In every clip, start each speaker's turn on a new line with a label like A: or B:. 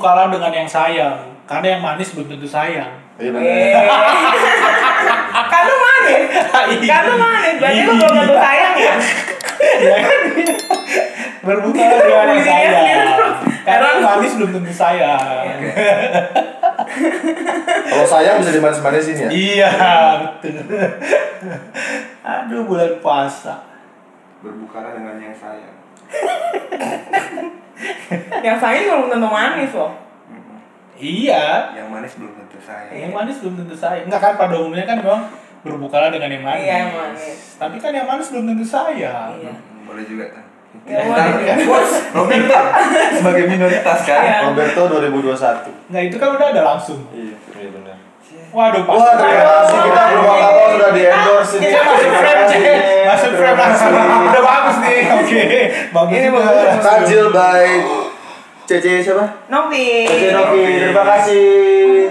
A: kalah dengan yang sayang. Karena yang manis belum tentu sayang.
B: Iya bener.
C: Eh. kan lu manis.
A: Ah, iya.
C: Kan
B: Iya.
C: lu manis. Berarti lu belum tentu sayang ya.
A: Ya kan? Berbuka dengan yang
C: Dirinya
A: sayang.
C: sendiri.
A: Iya, Karena Iya, yang manis belum tentu sayang.
B: Kalau sayang bisa dimanis-manisin ya.
A: Iya, betul. Aduh, bulan puasa.
D: berbukalah dengan yang sayang
C: Yang sayang belum tentu manis loh.
A: Iya,
D: yang manis belum tentu sayang
A: yang manis belum tentu sayang. Enggak kan pada umumnya kan memang berbukalah dengan yang manis.
C: Iya, yang manis.
A: Tapi kan yang manis belum tentu sayang.
C: Iya.
D: boleh juga kan
C: Yang manis.
D: Robin Tan, sebagai minoritas
C: Iya.
D: kan
B: Roberto 2021.
A: Nah, itu kan udah ada langsung.
B: Iya, iya benar.
A: Waduh, pas.
B: Wah, terima kasih kita berbuka kapal sudah di endorse ini.
A: Kita masuk
B: Terima
A: frame,
B: kasih.
A: Cek. Masuk frame
B: Terima
A: langsung.
B: kasih.
A: Udah bagus nih. Oke. Bagus
C: Ini
A: juga.
C: bagus.
B: Tajil by CC siapa?
C: Novi.
B: CC Novi. Terima kasih.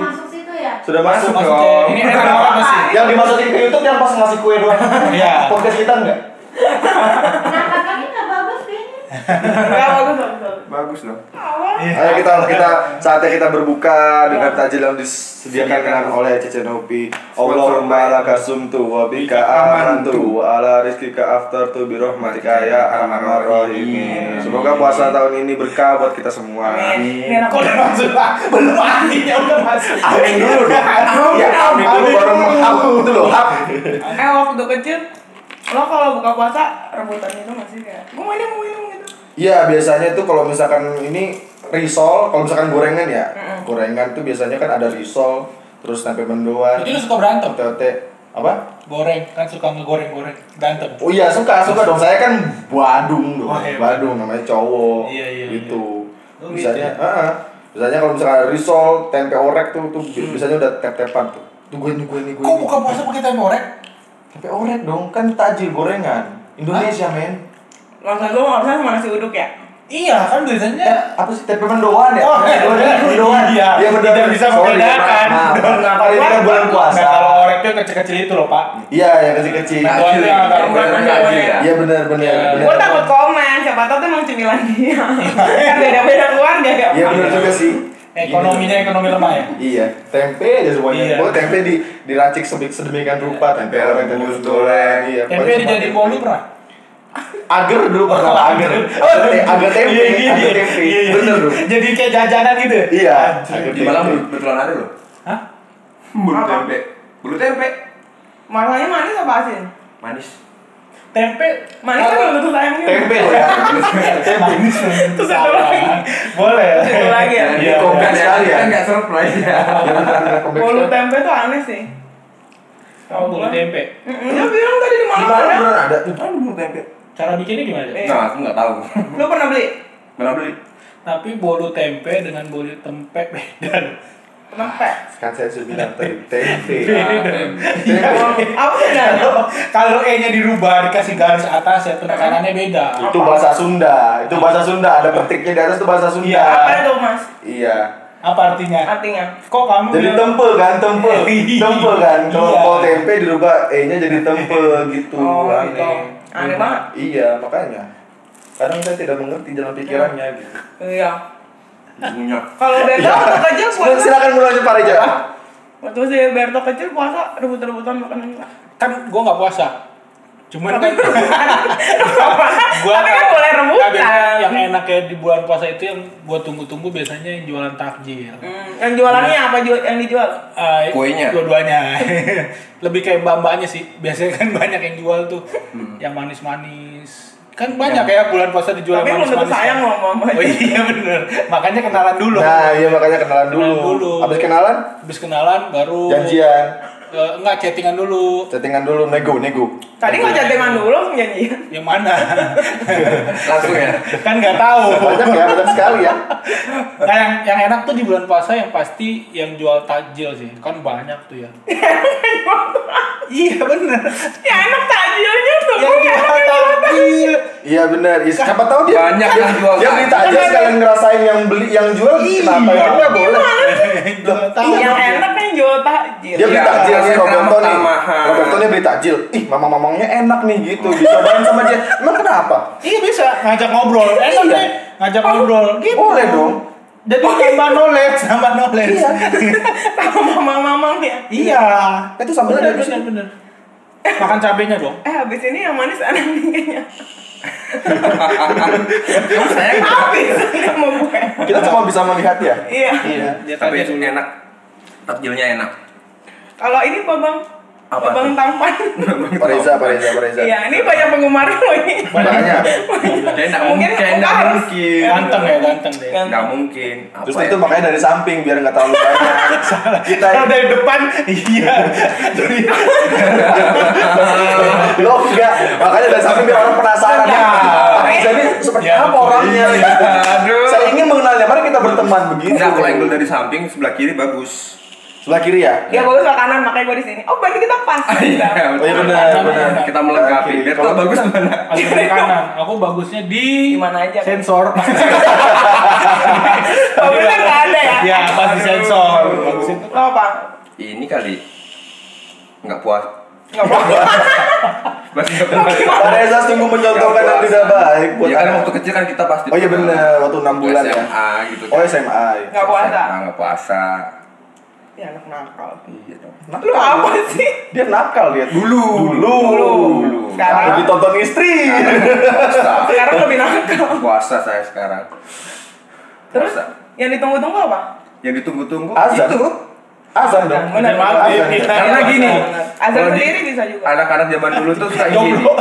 E: masuk situ ya?
B: Sudah masuk
A: Masuk,
B: dong.
A: Cek. Ini enak banget masih.
B: Yang dimasukin ke YouTube yang pas ngasih kue doang.
A: Iya.
B: Podcast kita enggak?
E: Nah, kakaknya nggak bagus kayaknya.
C: Enggak bagus bagus.
D: bagus loh
B: Ayo kita kita saatnya kita berbuka dengan tajil yang disediakan oleh Cece Nopi. Allahumma laka sumtu wa bika amantu wa ala rizkika aftar tu bi rahmatika ya arhamar rahimin. Semoga puasa tahun ini berkah buat kita semua.
C: Amin. Ini enak
A: Kok udah masuk lah? Belum aminnya udah masuk.
B: Amin dulu dong.
A: Amin.
B: Ya amin dulu baru mau hap itu loh hap.
C: Eh waktu kecil lo kalau buka puasa rebutan itu masih kayak gue mau ini mau ini mau itu.
B: Iya biasanya tuh kalau misalkan ini risol, kalau misalkan gorengan ya, gorengan tuh biasanya kan ada risol, terus tempe mendoan,
A: Jadi lu suka berantem?
B: tete apa?
A: Goreng, kan suka ngegoreng-goreng. Berantem.
B: Oh iya suka suka dong saya kan badung dong
A: Oh, iya.
B: badung namanya cowok
A: Iya, iya,
B: gitu
A: iya. Oh,
B: misalnya ah ah. misalnya kalau misalnya ada risol tempe orek tuh tuh
A: Hmm.
B: bi- biasanya udah tep tepan tuh tuh gue nih gue nih gue
A: Kok
B: nih.
A: buka puasa pakai tempe orek?
B: tempe orek dong kan tajil gorengan Indonesia men
C: Masa gue mau harusnya sama nasi uduk ya.
A: Iya, kan
B: Eh,
A: biasanya
B: apa sih tempe mendoan ya
A: Oh,
B: Tempe
A: iya.
B: mendoan
A: Iya,
B: Iya, mendoan.
A: tidak bisa kan?
B: Sorry,
A: membedakan.
B: maaf, maaf.
A: Mendoan
B: Hari ini kan bulan puasa
A: Nah, kalau oreknya kecil-kecil itu loh, Pak.
B: iya yang kecil kecil
A: Mendoan. Mendoannya agak
D: Tajil, yang bener-bener
C: kurang
D: tajil ya.
B: iya benar benar
A: Iya.
B: benar.
C: Gue takut komen, siapa tau tuh emang cemilan dia Kan beda-beda keluarga ya
B: iya benar juga sih
A: Ekonominya ekonomi lemah ya.
B: Iya, tempe aja semuanya.
A: Iya.
B: Pokoknya tempe di diracik sedemik- sedemikian rupa, tempe
D: Tempe
B: orek, tempe
D: rebus,
B: goreng, iya.
A: Tempe dijadiin bolu pernah?
B: Agar dulu pernah agar. Oh, Agar tempe,
A: Iya, iya,
B: agar
A: iya.
B: tempe.
A: Iya, iya.
B: Bener dulu.
A: Jadi kayak jajanan gitu.
B: Iya,
A: Anjir.
B: agar
D: di malam betulan ada loh
A: Hah?
D: bulu
C: Apa?
D: tempe bulu tempe
C: Masanya manis apa asin?
D: manis
A: Tempe
C: Manis kan belum tentu sayang juga
B: tempe loh ya.
A: manis
C: Terus satu lagi.
A: Boleh.
C: Satu lagi ya?
D: Jangan
A: Iya,
D: dikompres
B: iya.
D: sekali ya kan nggak surprise ya
C: Bolu tempe tuh aneh sih
A: Kamu bolu tempe.
C: Mm-mm, Dia bilang tadi di
B: Di
C: mana
B: malam
C: ada
B: beneran ada.
D: Apaan Kan bulu tempe
A: Cara bikinnya gimana?
C: Eh.
D: nah aku nggak tahu
C: Lu pernah beli?
D: pernah beli
A: Tapi bolu tempe dengan bolu tempe beda.
C: Tempe
B: Kan saya sudah bilang tadi tempe.
A: Iya.
B: Iya.
C: Bolu- Apa sih nanya?
A: Kalau E-nya dirubah dikasih garis atas ya penekanannya beda.
B: Itu bahasa Sunda, itu bahasa Sunda. Ada petiknya di atas itu bahasa Sunda.
A: Iya.
C: Apa itu mas?
B: Iya.
A: Apa artinya?
C: Artinya
A: Kok kamu
B: Jadi
A: bilang-
B: tempel kan, tempel, tempel kan. Kalau
A: Iya.
B: kalau tempe dirubah e-nya jadi tempel gitu.
C: Oh gitu
B: Aneh.
C: Aneh banget
B: Iya, makanya. Kadang saya tidak mengerti jalan pikirannya gitu.
C: Iya
D: punya
C: Kalau Berto waktu kecil
B: Sil-
C: puasa
B: Silakan mulai aja Pak Reja. Nah,
C: Waktu si Berto kecil puasa rebut-rebutan makanan juga
A: kan gua nggak puasa. Cuman kan
C: Tapi kan
A: kalau-
C: boleh
A: Nah, biasanya Yang
C: rebutan Hmm.
A: enak kayak di bulan puasa itu yang gua tunggu-tunggu biasanya yang jualan takjil.
C: Hmm, yang jualannya apa jual yang dijual?
A: Eh,
D: Kuenya?
A: dua-duanya lebih kayak mbak-mbaknya sih biasanya kan banyak yang jual tuh yang manis-manis kan banyak ya bulan puasa dijual
C: Tapi
A: yang
C: belum tentu
A: manis-manis
C: sayang loh mama.
A: oh iya bener makanya kenalan dulu
B: Nah, iya makanya kenalan dulu.
A: Kenalan dulu.
B: Habis kenalan,
A: habis kenalan baru
B: janjian,
A: Eh, enggak chattingan dulu
B: chattingan dulu, nego, nego.
C: Tadi nggak
A: Iya.
C: jatingan dulu langsung janjian.
A: yang mana
D: langsung ya
A: kan nggak tahu
B: Banyak ya, banyak sekali ya.
A: nah yang yang enak tuh di bulan puasa yang pasti yang jual takjil sih kan banyak tuh ya iya bener
C: Ya enak tajilnya tuh.
A: yang jual
C: iya.
A: takjil
B: Iya benar. Ya, siapa tahu dia
D: banyak yang jual
B: dia minta aja sekalian
A: Iya.
B: ngerasain yang beli, yang jual kenapa ya? Kan nggak boleh. iya.
A: Jual takjil.
C: Yang enak kan jual takjil.
B: Dia beli
D: Iya,
B: takjil
D: dia
B: si Roberto nih.
D: tambah-tambahan.
B: Roberto nih beli takjil. Ih, mamang-mamangnya enak nih gitu. Dicobain sama dia. Emang kenapa?
A: Iya bisa ngajak ngobrol. Enak
B: Iya.
C: Oh.
A: deh ngajak ngobrol. Gitu.
B: Boleh dong.
A: Jadi
C: iya.
A: tambah knowledge, tambah knowledge. Iya.
C: Sama mamang-mamang ya.
A: iya.
B: Itu sambalnya
A: Bener,
B: dari
A: bener, bener. Makan cabenya dong.
C: Eh habis ini yang manis anak nih kayaknya.
D: Kamu sayang
C: Habis nggak mau buka.
B: Kita cuma bisa melihat ya.
C: Iya.
A: Lihat
D: Tapi
A: aja dulu.
D: enak. Takjilnya enak.
C: Kalau ini babang
D: Apa
C: babang
D: tuh?
C: tampan.
B: Pak Reza, Pak Reza, Pak Reza.
C: Iya, ini banyak penggemar loh ini.
B: Banyak.
D: Kayak nggak
C: Mungkin
D: mungkin. Kayak nggak
C: enggak.
D: mungkin.
A: Ganteng ya, ganteng deh.
C: Yang
D: Nggak mungkin. Apa
B: Terus
D: ya?
B: itu makanya dari samping biar nggak terlalu banyak. Kita
A: Kalau dari depan, iya. Jadi,
B: lo enggak. Makanya dari samping biar orang penasaran.
A: Iya.
B: Tapi jadi seperti
A: Iya,
B: apa orangnya? gitu.
D: Aduh.
B: Saya ingin mengenalnya. Mari kita berteman begini.
D: Enggak, kalau angle dari samping sebelah kiri bagus.
B: Sebelah kiri ya.
C: Ya bagus lah kanan makanya gue di sini. Oh berarti kita pas.
D: Iya,
B: Oh iya benar, benar.
D: Kita melengkapi.
B: Kiri.
D: Biar
B: Kalau
D: tahu bagus mana.
A: Masuk dari kanan. Aku bagusnya di...
C: Di mana aja?
A: Sensor.
C: Bagus kan nggak ada ya?
A: Iya, pas di sensor. Bagusnya tuh.
C: Lo apa?
D: Ini kali nggak puas.
C: Nggak apa.
D: Masih nggak puas.
B: Pak Reza sungguh mencontohkan yang tidak baik buat
D: Ya kan
B: anak.
D: waktu kecil kan kita pasti.
B: Oh iya benar, waktu 6 bulan ya.
D: SMA gitu.
B: Oh SMA. ya.
C: Nggak puasa.
D: Nah, nggak puasa.
C: Ya anak nakal.
D: Iya dong.
C: Lu apa sih?
B: Dia nakal dia.
D: Dulu.
B: Dulu.
D: Dulu.
C: Sekarang.
B: Lebih tonton istri.
D: Puasa.
C: Sekarang lebih nakal.
D: Puasa saya sekarang.
C: Terus
D: Puasa.
C: yang ditunggu-tunggu apa?
D: Yang ditunggu-tunggu
B: Azan.
D: itu.
B: Azan dong.
C: Benar, maaf,
B: Azan.
A: kita-
D: Karena gini.
C: Azan
D: kalau di-
C: sendiri bisa juga.
D: Anak-anak zaman dulu tuh suka gini.
A: Jomblo.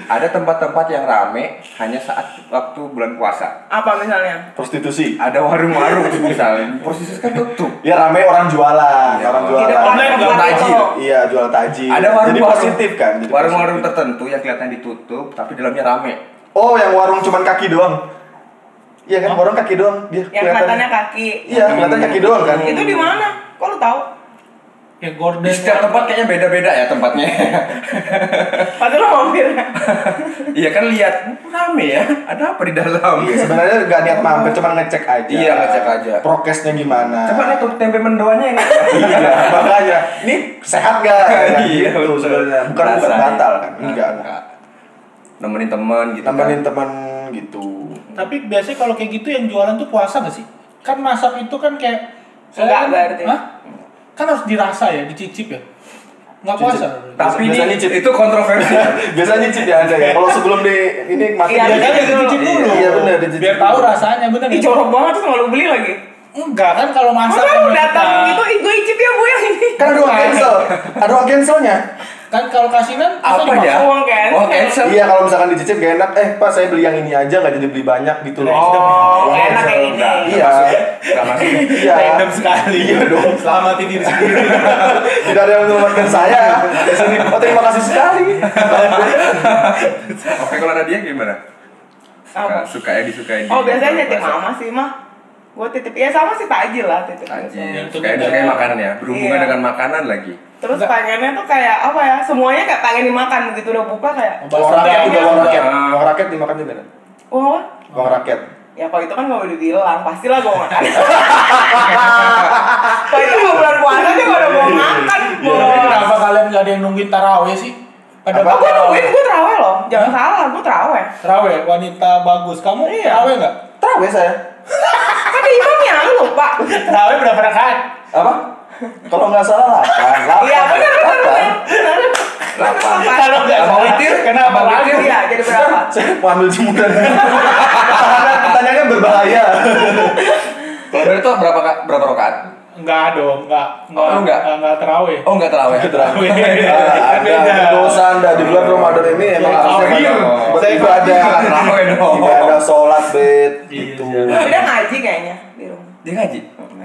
D: Ada tempat-tempat yang rame hanya saat waktu bulan puasa.
C: Apa misalnya?
B: Prostitusi.
D: Ada warung-warung misalnya. Posisi kan tutup.
B: Ya rame orang jualan,
D: Iya.
B: orang
C: Tidak
B: jualan.
A: online
C: nggak
D: jual tajil.
C: apa-apa.
B: Iya, jual tajil.
D: Ada warung
B: Jadi positif kan? jadi
D: Warung-warung
B: positif.
D: tertentu yang kelihatannya ditutup tapi dalamnya rame.
B: Oh, yang warung cuman kaki doang. Iya kan, warung kaki doang dia.
C: Yang kelihatannya kaki.
B: Iya, kelihatannya kaki doang kan.
C: Itu di mana? Kok lu tahu?
A: Ya, gorden.
D: Di setiap tempat kayaknya beda-beda ya tempatnya.
C: Pasti lu mampir.
D: Iya kan lihat rame ya. Ada apa di dalam?
B: Iya, sebenarnya nggak niat mampir, cuman ngecek aja.
D: Oh. Iya, ngecek aja.
B: Prokesnya gimana?
D: Coba lihat tuh tempe mendoanya ini.
B: Iya, makanya. Ini sehat nggak? Kayak
D: Iya,
B: gitu
D: betul.
B: sebenarnya. Bukan bukan
D: Rasanya.
B: batal kan? Enggak.
D: Enggak. Nemenin teman gitu. kan.
C: Iya.
B: Nemenin teman gitu.
A: Tapi biasanya kalau kayak gitu yang jualan tuh puasa gak sih? Kan masak itu kan kayak
C: Enggak
A: kan-
C: berarti.
A: Hah? Kan harus dirasa ya, dicicip ya. Enggak puasa.
D: Tapi
B: Biasanya
D: ini
B: nyicip.
D: itu kontroversi.
B: Biasanya cip ya ada ya. Kalau sebelum di ini mati
C: Iya,
A: Iya
B: dia
A: kan
C: iya,
A: dicicip
D: iya.
A: dulu.
B: Iya, bener, dicicip
A: Biar tahu
B: dulu.
A: rasanya bener
C: Ih
A: nggak?
C: jorok banget terus malu beli lagi.
A: Enggak kan kalau masak
C: Masa lu
A: kan kita-
C: datang gitu, ih gue icip ya bu yang ini. gitu.
B: Kan ada uang cancel. Ada uang cancelnya.
A: Kan kalau kasinan masa
D: apa
A: dimasak?
D: ya?
C: uang cancel.
D: Uang cancel.
B: Iya kalau misalkan dicicip gak enak, eh pak saya beli yang ini aja nggak jadi beli banyak gitu loh.
C: Oh,
B: Uang cancel.
C: enak kayak gini.
B: Iya,
D: Enggak masuk.
B: iya.
A: Random sekali.
B: Iya dong.
A: Selamati diri sendiri.
B: Tidak ada yang menyelamatkan saya. Di sini, Oh terima kasih sekali.
D: Oke, kalau ada dia gimana?
C: Apa?
D: Suka, suka ya disukai.
C: Oh
D: di-
C: biasanya titip
D: puasa.
C: mama sih mah. Gue titip ya sama sih takjil lah titip.
D: Anjir,
A: Yang
D: suka
A: itu
D: suka
A: juga.
D: makanan ya, berhubungan
C: Iya.
D: dengan makanan lagi.
C: Terus
A: Enggak.
C: pengennya tuh kayak apa ya? Semuanya kayak pengen dimakan begitu udah buka kayak.
B: Uang rakyat
C: ya.
B: juga uang
A: Bahasa
B: rakyat. Uang rakyat dimakan juga. kan?
C: Wah,
B: Uang rakyat.
C: "Oh, ya kalau itu kan gak boleh dibilang, pastilah gue makan. kalau itu mau bulan puasa dia gak udah mau makan,
A: Tapi
C: bos.
A: Kenapa kalian gak ada yang nungguin taraweh sih? Pada
B: Apa?
C: Oh, gue
A: bakal-
C: nungguin gue terawih loh, jangan salah, gue terawih.
A: Teraweh, wanita bagus. Kamu
C: Iya.
A: teraweh nggak?
B: Terawih saya.
C: Kan di imamnya, lu lupa.
A: Teraweh berapa rakaat?
B: Apa? Kalau nggak salah delapan. Delapan.
C: Iya, bener, bener,
B: Delapan.
C: bener. Bener.
D: Lapar.
A: Kalau nggak
D: Sama
A: salah,
D: witir,
A: kenapa
D: sama
A: lagi?
C: Iya, jadi berapa?
B: Saya mau ambil jemuran. Karena pertanyaannya berbahaya.
D: Kalau dari itu berapa ka- berapa rokaat?
A: Enggak dong, enggak.
D: Oh, enggak?
A: Enggak teraweh.
D: Oh, enggak terawih.
B: Terawih.
A: Iya, kan Beda.
B: Ah, Ada dosa anda di bulan Ramadan ini emang
A: Iya,
B: harusnya
D: iya.
B: banyak
A: Saya-
B: beribadah.
D: Terawih dong.
B: Ibadah sholat bet gitu.
C: Lu udah ngaji kayaknya di rumah.
D: Dia
C: ngaji.
D: ngaji.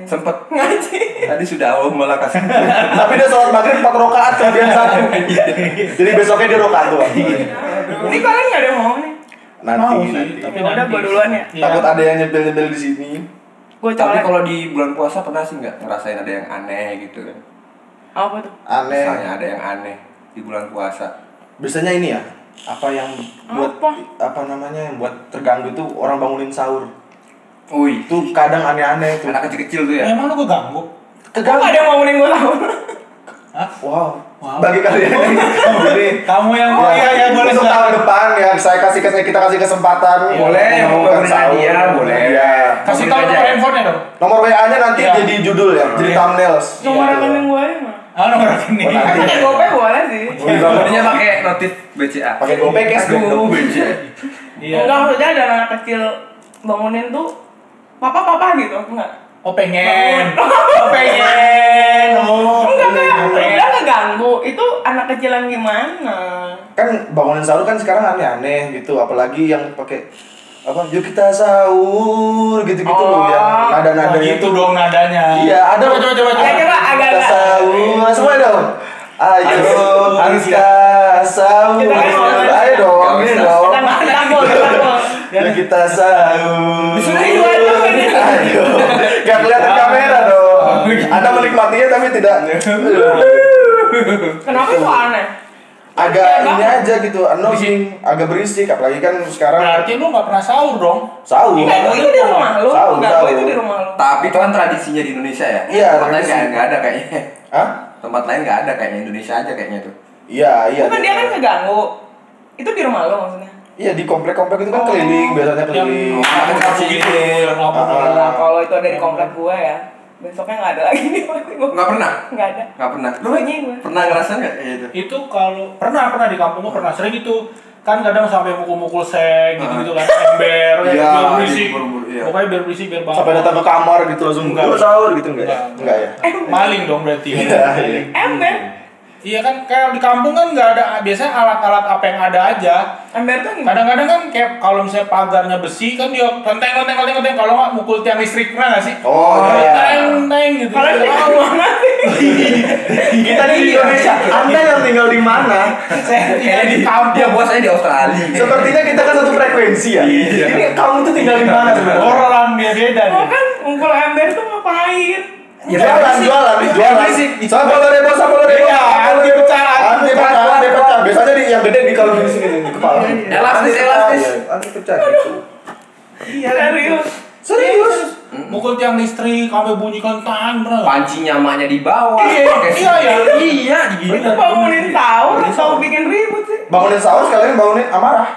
D: Sempet
C: Ngaji.
D: tadi sudah Allah malah kasih.
B: Tapi dia sholat maghrib 4 rakaat kemudian satu. Jadi besoknya dia rakaat doang.
C: Ini kalian gak ada yang mau nih.
B: Nanti
A: sih,
B: nanti.
A: tapi
C: Ya udah,
A: nanti.
C: gua duluan ya.
A: Iya.
B: Takut ada yang nyepil-nyepil di sini.
C: Gue
D: Tapi
C: colek.
D: kalau di bulan puasa pernah sih nggak ngerasain ada yang aneh gitu kan?
C: Apa tuh?
B: Aneh.
D: Misalnya ada yang aneh di bulan puasa.
B: Biasanya ini ya. Apa yang buat
C: Apa?
B: apa, namanya yang buat terganggu itu orang bangunin sahur.
D: Ui,
B: Itu kadang aneh-aneh itu.
D: anak kecil-kecil tuh ya.
B: Kan
A: Emang lu keganggu?
C: Kok gak ada yang mau gue tau?
A: Hah?
B: Wow.
A: Wow.
B: bagi kalian yang ini
A: Kamu yang oh iya iya boleh Iya,
B: untuk tahun
A: silakan.
B: depan yang saya kasih kita kasih kesempatan
D: Boleh, yang
B: mau Iya.
D: mau bernadia, boleh.
A: Kasih tahu
D: Kamu
A: nomor
D: aja.
A: handphonenya dong.
B: Nomor WA-nya nanti
A: Iya.
B: jadi judul ya, jadi
A: Iya.
B: thumbnails.
C: Nomor
D: Iya, tuh.
C: rekening gue aja mah.
A: Ah nomor ini.
B: Oh, nanti.
C: Pakai GoPay boleh sih.
D: Dibangunnya pakai notif BCA.
B: Pakai GoPay cash
D: Aduh, BCA.
C: Enggak
A: Iya.
C: maksudnya ada anak kecil bangunin tuh papa papa gitu enggak.
A: Oh pengen. Oh pengen. Oh.
C: Enggak kayak
A: pengen.
C: enggak ngeganggu. Itu anak kecil yang gimana?
B: Kan bangunan sahur kan sekarang aneh-aneh gitu, apalagi yang pakai apa? Yuk kita sahur gitu-gitu loh ya. yang
A: Oh,
B: nada-nadanya
A: gitu dong nadanya.
B: Iya, ada
A: Coba coba coba.
C: Ya,
A: coba.
C: coba
B: Kita
C: agak-agak.
B: sahur semua dong. Ayo
D: Harus- harus
B: kita sahur.
C: Kita kan mau-
B: Ayo dong,
D: Gak
B: ini
D: bisa.
B: dong.
C: Kita nggak kita gol, kita gol.
B: Yuk kita sahur.
C: Sudah itu aja.
B: Ayo. Gak kelihatan kamera dong. Anda menikmatinya tapi tidak
C: Kenapa itu aneh?
B: agak
C: Iya,
B: ini
C: Bang.
B: aja gitu, annoying, agak berisik apalagi kan sekarang
A: Berarti lu nggak pernah sahur dong.
B: sahur.
C: Enggak, itu di rumah lu.
B: Sahur,
C: Enggak,
B: sahur.
C: itu di rumah lu.
D: Tapi itu kan tradisinya di Indonesia ya.
B: Iya,
D: Tempat lain
B: tradisi.
D: nggak nggak ada kayaknya.
B: Hah?
D: Tempat lain nggak ada kayaknya Indonesia aja kayaknya tuh.
B: Iya, iya.
C: Bukan dia kan ngeganggu. Itu di rumah lu maksudnya.
B: Iya di komplek-komplek itu kan
C: Oh.
B: keliling, biasanya
A: Yang
B: keliling.
D: Anak kecil.
A: kecil.
B: Ah.
C: Nah, kalau itu ada di komplek gua ya, besoknya nggak ada lagi nih pasti gua.
D: Nggak pernah.
C: Nggak ada.
D: Nggak pernah. Lu
C: Bunyi gua.
D: pernah ngerasa nggak kayak gitu?
A: itu kalau pernah pernah di kampung gua pernah sering itu kan kadang sampai mukul-mukul seng gitu gitu kan ember ya,
B: Ah. Iya,
A: biar berisik
D: diburu-buru, iya.
A: pokoknya biar berisik biar bangun
B: Sampai datang ke kamar gitu langsung
A: Enggak.
B: "Yuk, sahur gitu enggak ya? Enggak ya.
A: maling dong berarti
B: Iya, iya.
C: Ember.
A: iya kan kayak di kampung kan nggak ada biasanya alat-alat apa yang ada aja
C: Ember tuh gimana?
A: kadang-kadang kan kayak kalau misalnya pagarnya besi kan dia lenteng lenteng lenteng lenteng kalau nggak mukul tiang listrik pernah nggak sih
B: Oh, iya.
A: lenteng lenteng gitu
B: Kan
C: Kalau di
A: Tahu.
C: mana sih?
B: Kita di Indonesia, Anda yang tinggal di mana?
A: saya tinggal di
D: Iya, Dia
A: kampung
D: bosnya di Australia.
B: Sepertinya kita kan satu frekuensi ya.
D: Iya.
B: Ini kamu tuh tinggal di mana sebenarnya?
A: orang dia beda
C: Mau
A: nih
C: kan ngumpul ember tuh ngapain?
D: Ya,
B: jualan,
D: berisik.
B: jualan,
D: Ya,
B: jualan.
D: berisik.
B: Sama lo rebo, sama lo rebo.
A: Iya, anti pecah,
B: anti pecah, anti pecah. Biasanya di yang gede di kalau di sini nih, di kepala. Anti
D: Elastis,
B: pecah,
D: elastis.
B: iya. Anti pecah. gitu.
C: Iya, serius.
B: Serius?
A: mukul tiang listrik sampai bunyi kentang pernah nggak?
D: Pancinya emaknya di bawah.
A: Iya,
D: Pakai
A: iya, iya.
D: sendal. Iya, gini.
C: Itu
B: Iya,
C: bangunin sahur atau bikin ribut sih?
B: Bangunin sahur sekalian bangunin amarah.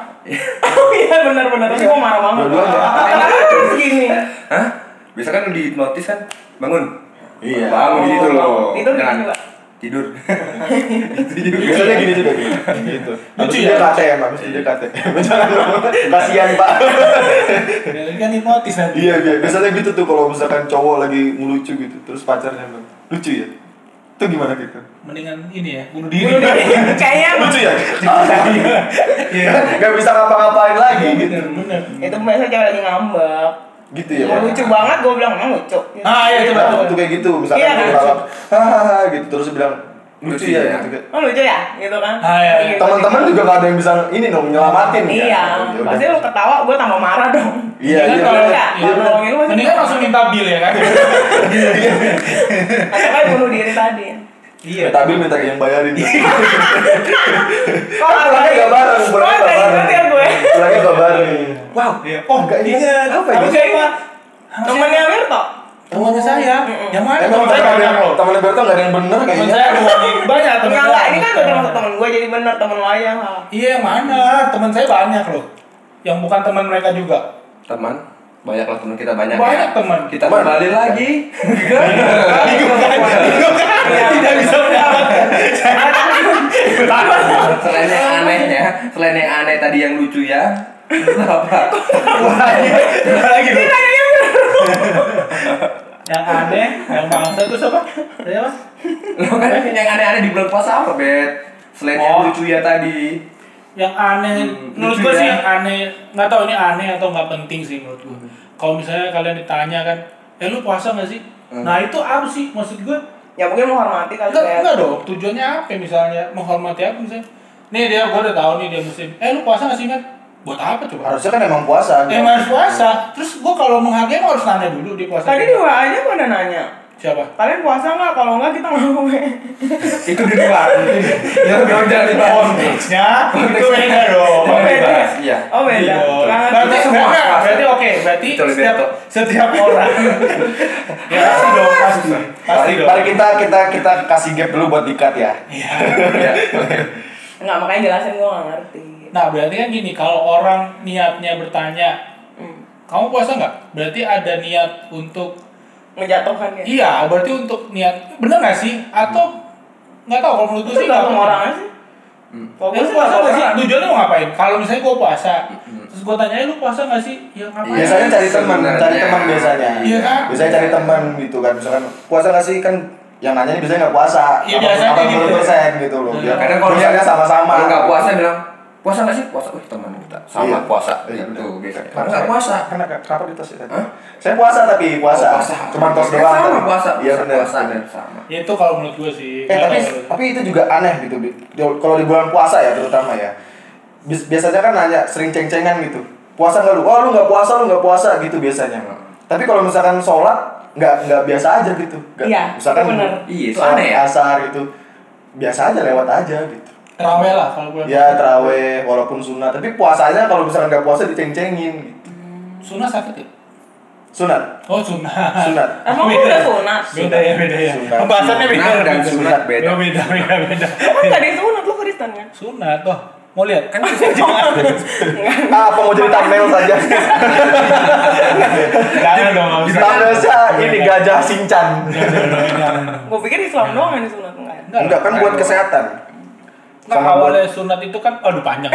C: Oh iya benar-benar. Tapi gua marah banget.
B: Dua-duanya.
C: Kenapa harus gini?
D: Hah? Biasa kan lu di hipnotis kan? Bangun.
B: Iya.
D: Bangun gitu loh.
C: Tidur gitu
D: Jangan.
C: juga.
D: Tidur. Tidur.
B: Biasanya gini juga gini. Gitu. Habis
A: Lucu
B: itu dia
A: ya?
B: KTM, habis itu dia KTM. Jangan dong. Kasihan, Pak.
A: Dia kan hipnotis nanti
B: Iya, iya. Biasanya gitu tuh kalau misalkan cowok lagi ngelucu gitu, terus pacarnya bilang, "Lucu ya?" Itu gimana gitu?
A: mendingan ini ya bunuh
C: Bunuh
A: diri
C: diri. Kayaknya
B: Lucu ya? Gak bisa ngapa-ngapain lagi gitu.
A: Iya. bener bener
C: itu biasa cewek lagi ngambek.
B: Gitu ya.
C: Mau
B: Pak?
C: Iya, lucu banget gua bilang emang lucu. Gitu.
A: Ah, iya, itu
B: Nah, waktu kayak gitu, misalkan
C: Iya,
B: dia
C: kan?
B: ngelawak, hahaha gitu terus dia bilang lucu
D: Lucu
B: ya
D: ya.
B: gitu kan.
C: Oh lucu ya, gitu kan?
A: Ah, iya, iya.
C: Gitu.
B: Teman-teman juga gak ada yang bisa ini dong nyelamatin kan?
C: Iya,
B: Ya udah.
C: pasti lu ketawa, gue tambah marah dong.
B: Iya,
A: Mendingan
B: iya.
A: kalau-
B: bener.
C: Iya,
B: Iya, bener.
C: kalau gitu masih-
A: mendingan langsung minta bil ya kan
C: Atau kayak bunuh diri tadi.
A: iya
B: Tapi minta yang bayarin. Kan
C: Kalau
B: pulangnya gak Ah, bareng, pulangnya
C: Oh,
B: gak
C: kayak
B: bareng.
C: gitu ya gue.
B: Pulangnya gak bareng.
A: wow oh nggak ingat
B: Apa ya?
A: Harus siapa
C: Temennya Wirto.
A: temannya saya
C: Mm-mm.
A: yang mana teman
B: Emang
A: saya
B: teman
A: banyak loh
B: teman Berto gak ada yang bener
A: teman
B: kayaknya.
A: saya banyak banyak teman
C: Enggak,
A: saya.
C: enggak, ini kan udah termasuk temen gue jadi bener temen wayang lah.
A: iya yang mana teman saya banyak loh yang bukan teman mereka juga
D: Teman, banyaklah teman kita banyak.
A: Banyak
D: ya.
A: teman.
D: Kita
B: Teman.
D: kembali lagi.
A: tidak bisa menyelamatkan
D: Selain yang aneh ya, selain yang aneh tadi yang lucu ya. Itu apa?
A: lagi loh. yang aneh yang bangsa itu siapa Iya, siapa
D: Lo kan yang aneh-aneh di bulan puasa apa, Bet? Selain
A: Oh.
D: yang lucu ya tadi.
A: yang aneh
D: Hmm,
A: menurut
D: lucu
A: gue sih
D: ya. Hmm.
A: yang aneh nggak tahu ini aneh atau nggak penting sih menurut gue kalau misalnya kalian ditanya kan eh lu puasa nggak sih
D: Hmm.
A: nah itu apa sih maksud gue
C: Ya mungkin menghormati kali
A: enggak
C: ya.
A: enggak dong tujuannya apa misalnya menghormati apa misalnya nih dia gue udah tahu nih dia musim eh lu puasa nggak sih kan buat apa coba
B: Harusnya kan emang puasa.
A: Eh,
B: gitu.
A: emang harus puasa terus gue kalau menghargai emang harus nanya dulu dia puasa
C: Tadi di WA aja gue udah nanya.
A: Siapa?
C: Kalian puasa nggak? Kalau nggak kita ngomongnya.
D: Itu di luar. Ya udah di
A: Konteksnya itu
D: Konteksnya.
A: beda dong.
D: Jangan
C: beda.
D: dibahas, Iya.
C: Oh beda.
A: Betul.
C: Nah,
A: Berarti
D: kita semua
A: enggak,
D: pasti.
A: berarti oke, berarti
D: Kecuali
A: setiap
D: Beto.
A: setiap orang. ya pasti dong, pasti. Pasti
B: Mari,
A: dong.
B: mari kita kita kita kasih gap dulu buat dikat ya.
A: Iya.
D: Iya.
C: Nggak makanya jelasin gue nggak ngerti.
A: Nah, berarti kan gini, kalau orang niatnya bertanya,
C: Hmm.
A: "Kamu puasa nggak?" Berarti ada niat untuk
C: Menjatuhkan ya.
A: iya, berarti untuk niat. Bener nggak sih? Atau nggak tahu kalau menurut gue
C: Itu
A: sih nggak
C: tergantung
A: pernah.
C: orangnya sih.
D: Hmm.
C: Kalau
A: Ya,
C: gue
A: lu
C: sih
A: puasa
C: nggak
A: nggak sih?
C: pernah.
A: Tujuannya mau ngapain? Kalau misalnya gue puasa,
D: Mm-mm.
A: terus gue tanya, "Eh, lu puasa nggak sih? Ya ngapain?
B: Biasanya cari teman,
D: Iya, Sebenarnya.
B: cari teman biasanya.
A: Iya kan?
B: Biasanya cari teman gitu kan. Misalkan puasa nggak sih kan yang nanya ini biasanya nggak puasa.
A: Iya, biasanya gitu.
B: persen gitu loh.
A: Iya.
B: Biar
D: Kadang kalau
B: misalnya sama-sama.
D: Kalau nggak puasa bilang puasa nggak sih? Puasa, wih teman kita sama
B: Iya.
D: puasa.
B: Iya,
D: Itu
B: bener.
D: biasanya.
B: Karena
D: Kalau nggak
B: saya-
D: puasa,
B: Karena kenapa di tos ya? tadi?
D: Hah?
B: Saya puasa tapi puasa.
D: Oh, puasa.
B: Cuma tos
D: Ya,
B: doang.
D: Sama
B: tapi-
D: puasa.
B: Iya
D: Puasa,
B: benar.
D: Puasa
B: benar.
D: sama.
A: Ya itu kalau menurut gue sih.
B: Eh
A: Nggak
B: tapi
A: tahu.
B: tapi itu juga aneh gitu. Bi. Di- Kalau di bulan puasa ya terutama ya. Bis- Biasanya kan nanya sering ceng-cengan gitu. Puasa nggak lu? Oh lu nggak puasa, lu nggak puasa gitu biasanya. Tapi kalau misalkan sholat nggak nggak biasa aja gitu. Nggak-
C: Iya,
B: Misalkan
C: itu benar.
D: Iya, itu
B: sholat
D: aneh ya.
B: Asar gitu biasa aja lewat aja gitu.
A: Terawih lah kalau gue.
B: Ya teraweh walaupun sunnah. Tapi puasanya kalau misalkan nggak puasa diceng-cengin. Gitu.
A: Sunnah sakit ya?
B: Sunat,
A: Oh sunnah.
B: sunat.
C: Emang lu udah sunat?
A: Beda ya beda ya.
B: Sunnah.
A: Pembahasannya beda.
D: Nah, dan sunat
A: Beda
D: beda.
A: beda beda beda.
C: Emang Kan nggak ada yang sunat lu Kristen kan?
A: Sunat toh. Mau lihat kan?
C: Iya.
B: Ah, apa mau jadi thumbnail saja?
A: Jangan dong. nggak usah.
B: thumbnail ini gajah sincan.
A: Jangan, jangan, jangan.
C: Gue pikir Islam doang yang disunat enggak ada.
A: Enggak.
B: Enggak kan buat kesehatan.
A: Kan
B: Sama buat
A: awalnya sunat itu kan aduh panjang.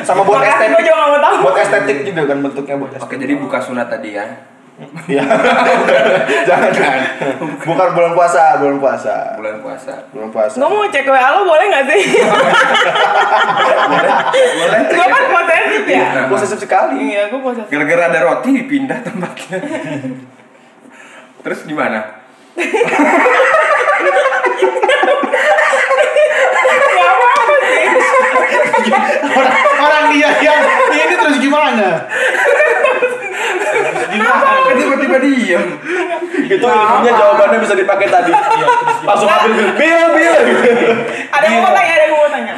B: sama buat
C: Makasih gue
B: estetik.
C: juga nggak mau tahu.
B: Buat estetik juga kan bentuknya buat estetik.
D: Oke, jadi buka sunat tadi ya.
B: Iya. Jangan kan. Bukan bulan puasa, bulan puasa.
D: Bulan puasa.
B: Bulan puasa.
C: Gue mau cek WA lo boleh nggak sih?
B: Boleh.
C: gue kan posesif ya.
B: Posesif sekali.
C: Iya, gue posesif.
D: Iya. Gara-gara ada roti dipindah tempatnya. Terus gimana?
C: Gak apa-apa sih.
A: orang, orang dia yang dia ini terus gimana? Gimana?
D: Kan tiba-tiba diem. Iya,
B: Itu ilmunya jawabannya bisa dipakai tadi.
D: gitu.
B: Langsung ambil bil bil. bil.
C: Ada
B: Iya.
C: yang mau tanya, ada yang mau tanya.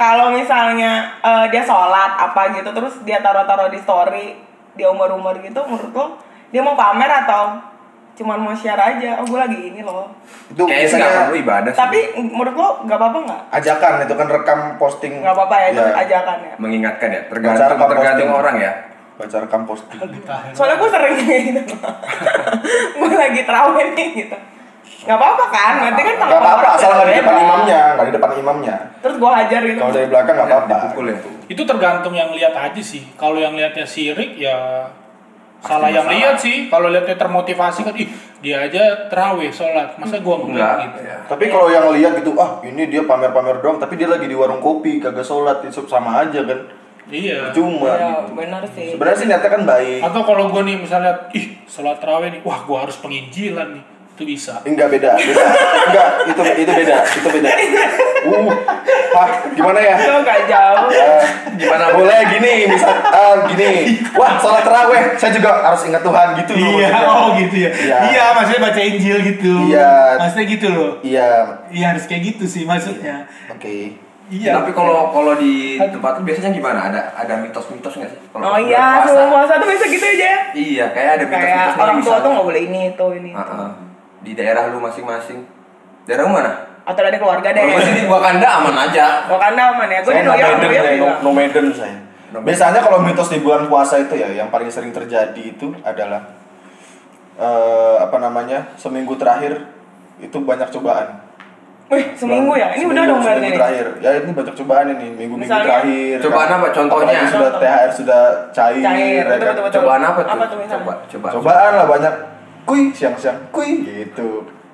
C: Kalau misalnya eh, dia sholat apa gitu, terus dia taruh-taruh di story, dia umur-umur gitu, menurut lo dia mau pamer atau cuman mau share aja? Oh, gue lagi ini loh.
B: Itu
D: Kayaknya sih nggak perlu
B: biasanya
D: ibadah. sih.
C: Tapi menurut lo nggak apa-apa nggak?
B: ajakan itu kan rekam posting.
C: Nggak apa-apa ya,
B: Iya.
C: itu ajakan ya.
D: mengingatkan ya,
B: Cara
D: tergantung
B: apa posting?
D: tergantung orang ya.
B: Baca rekam posting.
C: Soalnya gue sering kayak gitu. gue lagi terawih nih gitu. Gak apa-apa kan? Nanti kan
B: Gak apa-apa
C: orang
B: asal nggak di depan
C: beda.
B: imamnya, nggak di depan imamnya.
C: Terus gue hajar gitu.
B: Kalau dari belakang nggak apa-apa.
D: Dipukul ya.
A: Itu tergantung yang lihat aja sih. Kalau yang lihatnya sirik ya
D: Pasti
A: salah yang
D: masalah.
A: lihat sih. Kalau lihatnya termotivasi kan ih dia aja terawih sholat masa gua
D: Enggak.
A: enggak gitu.
D: Ya.
B: Tapi kalau yang lihat gitu, ah ini dia pamer-pamer doang, tapi dia lagi di warung kopi, kagak sholat, itu sama aja kan.
A: Iya.
B: Cuma
C: Iya,
B: gitu.
C: benar sih.
B: Sebenarnya sih niatnya kan baik.
A: Atau kalau gue nih misalnya, ih sholat terawih nih, wah gue harus penginjilan nih, itu bisa.
B: Enggak beda, beda. Enggak, itu itu beda, itu beda. Uh, ah, gimana ya?
C: Itu Iya, nggak jauh.
B: Eh,
D: Gimana
B: boleh gini, misal ah, gini. Wah, sholat terawih, saya juga harus ingat Tuhan gitu
F: Iya,
B: loh, maksudnya.
F: oh
A: gitu ya.
B: Iya.
A: maksudnya baca Injil gitu.
B: Iya.
A: Maksudnya gitu loh.
B: Iya.
A: Iya harus kayak gitu sih maksudnya.
B: Oke.
C: Iya.
D: Tapi kalau kalau di tempat itu biasanya gimana? Ada ada mitos-mitos nggak sih? Kalau
C: Oh
D: pas
C: iya,
D: bulan puasa?
C: sebelum puasa tuh bisa gitu aja ya.
D: Iya, kayak ada mitos-mitos
C: Kayak
D: yang
C: orang tua
D: bisa.
C: tuh nggak boleh ini, itu, ini. itu.
D: Heeh. Di daerah lu masing-masing. Daerah lu mana?
C: Atau ada keluarga deh.
D: Kalau sih di Wakanda aman aja.
C: Wakanda aman ya, gue
B: Saya
C: di
B: no
C: New York, New
B: maiden,
C: York
B: saya
C: juga.
B: no- no maiden saya. Biasanya kalau mitos di bulan puasa itu ya, yang paling sering terjadi itu adalah eh apa namanya seminggu terakhir itu banyak cobaan.
C: Wih, seminggu ya? Ini udah dong berarti
B: Seminggu
C: nih.
B: terakhir, ya ini banyak cobaan ini minggu minggu
C: Misalnya?
B: terakhir.
D: Cobaan apa contohnya?
B: Apalagi sudah
C: Contoh.
B: THR sudah cair,
C: Cair,
B: ya kan?
C: betul, betul,
D: Cobaan apa tuh?
C: Apa tuh misalnya?
D: coba, coba.
B: Cobaan lah banyak. Kui siang-siang, kui gitu.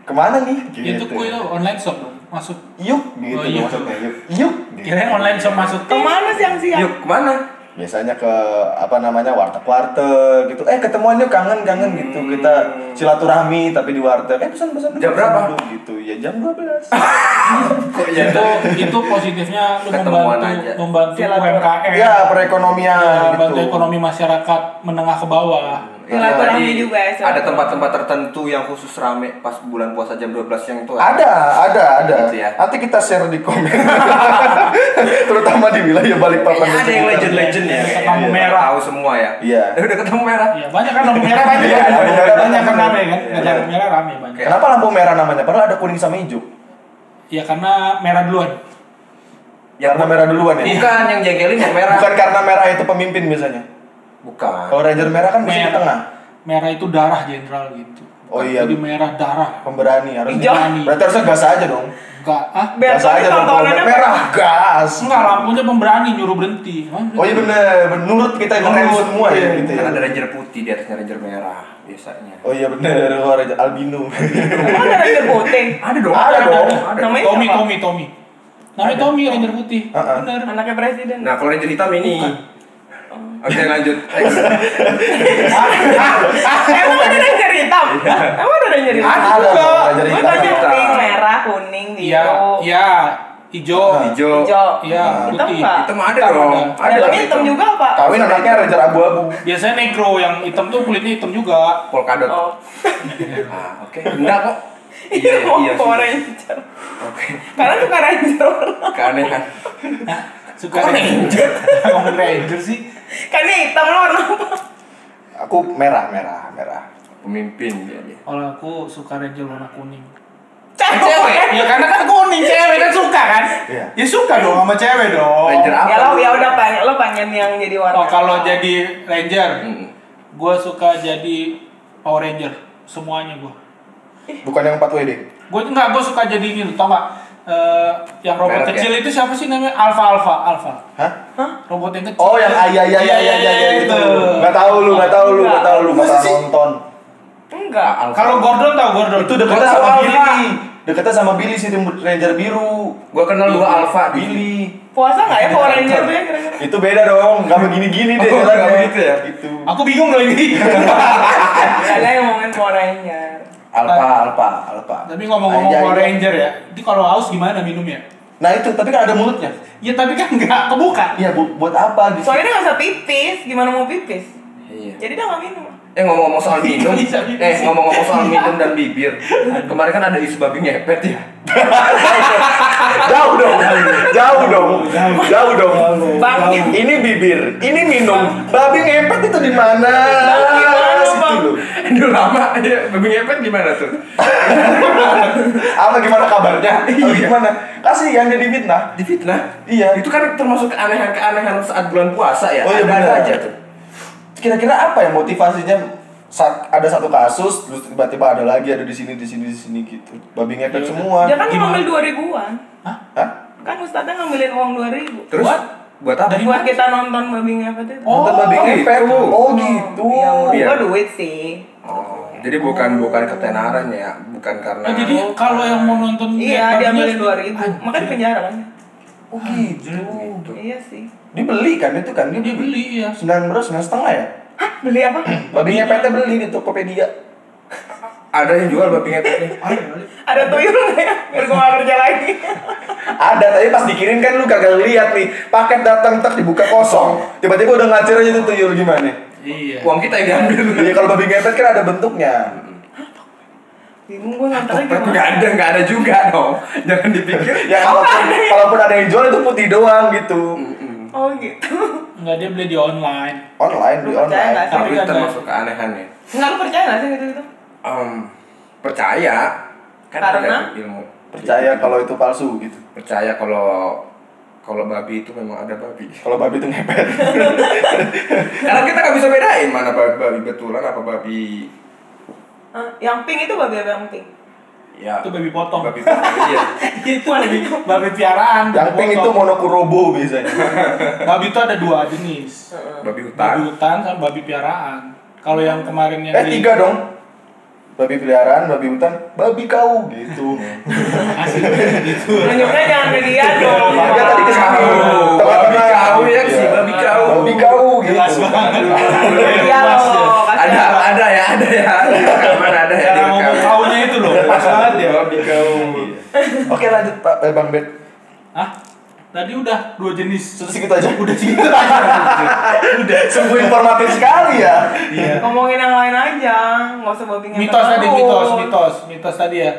B: Kemana nih? Gitu.
A: Itu kue tuh online shop dong, masuk.
B: Yuk, gitu
A: Oh, yuk.
B: maksudnya yuk. Yuk. gitu.
A: Kirain online shop masuk tuh.
C: Kemana siang-siang?
D: Yuk, kemana?
B: biasanya ke apa namanya warteg-warteg gitu eh ketemuan yuk kangen-kangen gitu kita silaturahmi tapi di warteg eh pesan-pesan
D: Hmm. Jam
B: pesan
D: berapa?
B: dulu, gitu ya jam 12
D: Kok ya?
A: Itu itu positifnya lu
D: Ketemuan
A: membantu
D: aja.
A: membantu
C: Silaturahmi.
B: Iya,
A: UMKM,
B: ya perekonomian
D: Iya,
A: membantu
B: gitu
A: ekonomi masyarakat menengah ke bawah.
C: Silaturahmi
D: Jadi,
C: juga ya, silaturahmi.
D: Ada tempat-tempat tertentu yang khusus rame pas bulan puasa jam 12 yang itu
B: Ada, ada, ada.
D: Gitu ya.
B: Nanti kita share di komen. Terutama di wilayah Balikpapan.
D: Kayaknya ada yang legend-legend ya.
F: Ketemu
D: kayaknya.
F: merah.
D: Tahu semua ya.
B: Iya.
D: Eh, Udah ketemu merah.
F: Iya, banyak kan lampu merah banyak.
B: Iya, iya, iya,
F: banyak kan
B: iya,
F: rame kan.
B: iya.
F: Banyak lampu merah rame banyak.
B: Kenapa lampu merah namanya? Padahal ada kuning sama hijau.
F: Ya karena merah duluan.
D: Yang
B: Karena merah duluan ya.
D: Bukan yang jengkelin yang merah.
B: Bukan karena merah itu pemimpin biasanya.
D: Bukan.
B: Kalau ranger merah kan mesti di tengah.
F: Merah itu darah jenderal gitu.
B: Oh iya.
F: Jadi merah darah.
B: Pemberani harus.
C: Hijau.
B: Berarti harusnya gas aja dong.
F: Enggak, ah.
C: Biar
B: Gas aja dong. Kalau
C: tontonannya
B: merah gas.
F: Enggak, lampunya pemberani nyuruh berhenti. Hah,
B: Oh iya bener, menurut kita yang keren
F: Menurut,
B: semua ya
F: iya.
B: gitu ya.
D: Kan ada ranger putih di atasnya ranger merah biasanya.
B: Oh iya bener, luar aja albino.
C: Emang ada ranger putih?
D: Ada dong.
B: Ada dong.
D: Ada.
C: Namanya
F: Tommy,
C: siapa?
F: Tommy, Tommy. Namanya Tommy, Ranger Putih.
B: Uh-uh.
F: Bener.
C: Anaknya presiden.
D: Nah, kalau ranger hitam ini. Oke, lanjut.
C: Emang ada ranger hitam? Emang ada ranger hitam?
B: Ada dong, ranger
C: Gue
B: hitam.
C: tanya
D: Hitam.
C: pink, merah, kuning,
F: Iya,
C: biru,
F: iya. Hijau.
D: Hijau.
C: hijau.
F: Iya,
B: Hitam
F: putih.
C: enggak?
D: Hitam ada
F: Hitam
D: dong.
F: ada.
D: Ada
C: Dalamnya hitam juga apa?
B: Kawin anaknya ranger abu-abu.
F: Biasanya negro yang hitam tuh kulitnya hitam juga.
D: Polkadot.
C: Oh.
D: Ah, oke. Enggak kok.
C: Iya, mau
D: iya.
C: Power
D: sih.
C: Ranger.
D: Oke.
C: Karena suka ranger orang.
D: Keanehan.
F: Suka Ranger. Ngomong Ranger sih.
C: Kan dia hitam lo warna apa?
B: Aku merah, merah, merah.
D: Pemimpin dia. dia.
F: Kalau aku suka Ranger warna kuning.
C: Cewek.
F: Ya karena kan kuning cewek kan suka kan?
B: Iya.
F: Ya suka dong sama cewek dong.
D: Ranger apa?
C: Ya lo ya udah pengen lo pengen yang jadi warna.
F: Oh kalau jadi Ranger,
D: Hmm.
F: gue suka jadi Power Ranger semuanya gue.
B: Bukan yang 4WD.
F: Gue enggak, gue suka jadi ini, tau gak? Eh, yang robot
D: Merek ya?
F: kecil itu siapa sih namanya? Alpha Alpha Alpha.
B: Hah?
F: Robot yang ah, iya, kecil.
B: Oh yang ayah ayah ayah ayah ayah ayah
F: Iya,
B: itu. Gak ya, gitu. tahu lu, gak tahu lu, gak tahu lu, gak
F: Masa
B: pernah
F: sih?
B: nonton.
C: enggak.
D: Ah, Alpha.
F: Kalau Gordon tau Gordon
B: Itu deketnya
D: Gua tahu
B: sama
D: Alpha.
B: Billy. Deketnya sama Billy sih tim ranger biru.
D: Gua kenal dua alfa Billy.
B: Billy.
C: Puasa nggak ya Power Ranger tuh ya kira-kira?
B: Itu beda dong, gak begini-gini deh
D: Oh, nggak
B: jalannya.
D: begitu ya?
B: Gitu.
F: Aku bingung loh ini.
C: Ada yang ngomongin Power Ranger.
D: Alfa, alfa, alfa.
F: tapi ngomong-ngomong
B: Ayah,
F: Power
B: ayah.
F: Ranger ya, ini kalau haus gimana minumnya?
B: Nah itu, tapi kan ada mulutnya.
F: Ya tapi kan nggak kebuka.
B: Iya, bu- buat apa gitu?
C: Soalnya dia nggak bisa pipis, gimana mau pipis?
D: Iya.
C: Jadi dia nggak minum.
D: Eh ngomong-ngomong soal minum,
F: Bisa, bisa.
D: eh ngomong-ngomong soal minum dan bibir, kemarin kan ada isu babi ngepet ya.
B: Jauh dong, jauh dong, jauh dong.
C: Bang,
B: Ini bibir, ini minum. Babi ngepet itu di mana?
C: gimana, Bang?
B: Situ lu.
D: Dulu lama, ya, babi ngepet gimana tuh?
B: Apa gimana kabarnya? Apa
D: Iya.
B: gimana? Kasih yang jadi fitnah.
D: Difitnah.
B: Iya.
D: Itu kan termasuk keanehan-keanehan saat bulan puasa ya.
B: Oh, iya,
D: Ada-ada
B: benar.
D: aja tuh.
B: Kira-kira apa ya motivasinya? Saat ada satu kasus, terus tiba-tiba ada lagi ada di sini, di sini, di sini gitu. Babi ngepet semua.
C: dia kan
F: Gimana?
C: ngambil dua ribuan.
B: Hah?
C: Kan Ustadznya ngambilin uang dua ribu.
D: Terus buat, apa?
F: Dari
C: Buat kita nonton babi ngepet itu.
B: Nonton
D: Oh,
B: babi ngepet.
D: gitu.
B: Oh gitu.
C: Iya,
D: Iya.
C: gua duit sih.
D: Oh, jadi bukan bukan ketenaran ya, bukan karena
F: Oh, jadi kalau yang mau nonton
C: Iya, dia ambilin dua ribu.
F: Anjir.
C: Makanya di penjara kan.
B: Oh gitu.
D: gitu.
C: Iya sih.
B: Dibeli kan itu kan?
F: dia beli
C: iya.
F: ya.
B: Sembilan belas, sembilan setengah ya?
C: Hah, beli apa?
B: Babi ngepetnya beli di Tokopedia.
D: Ada yang jual babi ngepet nih.
C: Ada tuyul nggak ya? Biar gua nggak kerja lagi.
B: Ada, tapi pas dikirim kan lu kagak lihat nih. Paket datang tak dibuka kosong. Tiba-tiba udah ngacir aja tuh tuyul gimana?
F: Iya.
D: Uang kita yang diambil.
B: Iya kalau babi ngepet kan ada bentuknya.
C: Bingung gua nganternya
D: Topet
C: gimana.
D: nggak ada, nggak ada juga dong. Jangan dipikir.
F: Iya.
B: Ya kalaupun, kalaupun ada yang jual itu putih doang gitu.
C: Oh gitu.
F: Enggak dia beli di online.
B: Online, beli
C: Lu percaya nggak
B: online.
C: sih?
D: Tapi
F: ada.
D: termasuk keanehan ya.
C: Nggak lu percaya nggak sih gitu-gitu?
D: Em, percaya kan
C: Karena?
D: ada ilmu.
B: Percaya kalau itu palsu gitu.
D: Percaya kalau kalau babi itu memang ada babi.
B: Kalau babi itu ngepet.
D: Karena kita nggak bisa bedain mana babi, babi betulan apa babi
C: Hah? Yang pink itu babi apa yang pink?
D: ya
F: Itu babi potong.
D: babi potong, iya.
F: itu babi, babi piaraan.
B: yang
F: babi
B: pink itu
F: potong.
B: monokurobo biasanya.
F: babi itu ada dua jenis.
D: Babi hutan.
F: Babi hutan sama babi piaraan. Kalau yang kemarin yang
B: Eh
F: di-
B: tiga dong. Babi peliharaan, babi hutan, babi kau gitu.
F: Asli gitu.
C: Nunjuknya jangan ke dia dong.
D: iya,
B: Dia Iya, tadi ke sana.
D: Kau, babi
B: Teman-teman.
D: kau ya si
B: Iya.
D: babi kau.
B: Babi kau gitu.
F: Jelas banget.
C: Iya loh, kasihan.
D: Ada ada ya ada ya. Ada
B: Iya.
D: di rekaman, ada ya di
F: Cara ngomong
D: rekaman.
F: kaunya itu loh. Pas banget ya.
D: Babi kau.
B: Oke lanjut Pak eh, Bang Bet.
F: Hah? Tadi udah dua jenis.
B: Sudah segitu aja.
F: Udah segitu aja. udah.
B: Sungguh informatif sekali ya.
F: Iya.
C: Ngomongin yang lain aja, nggak usah babi
F: Mitos tadi, mitos, mitos, mitos tadi ya.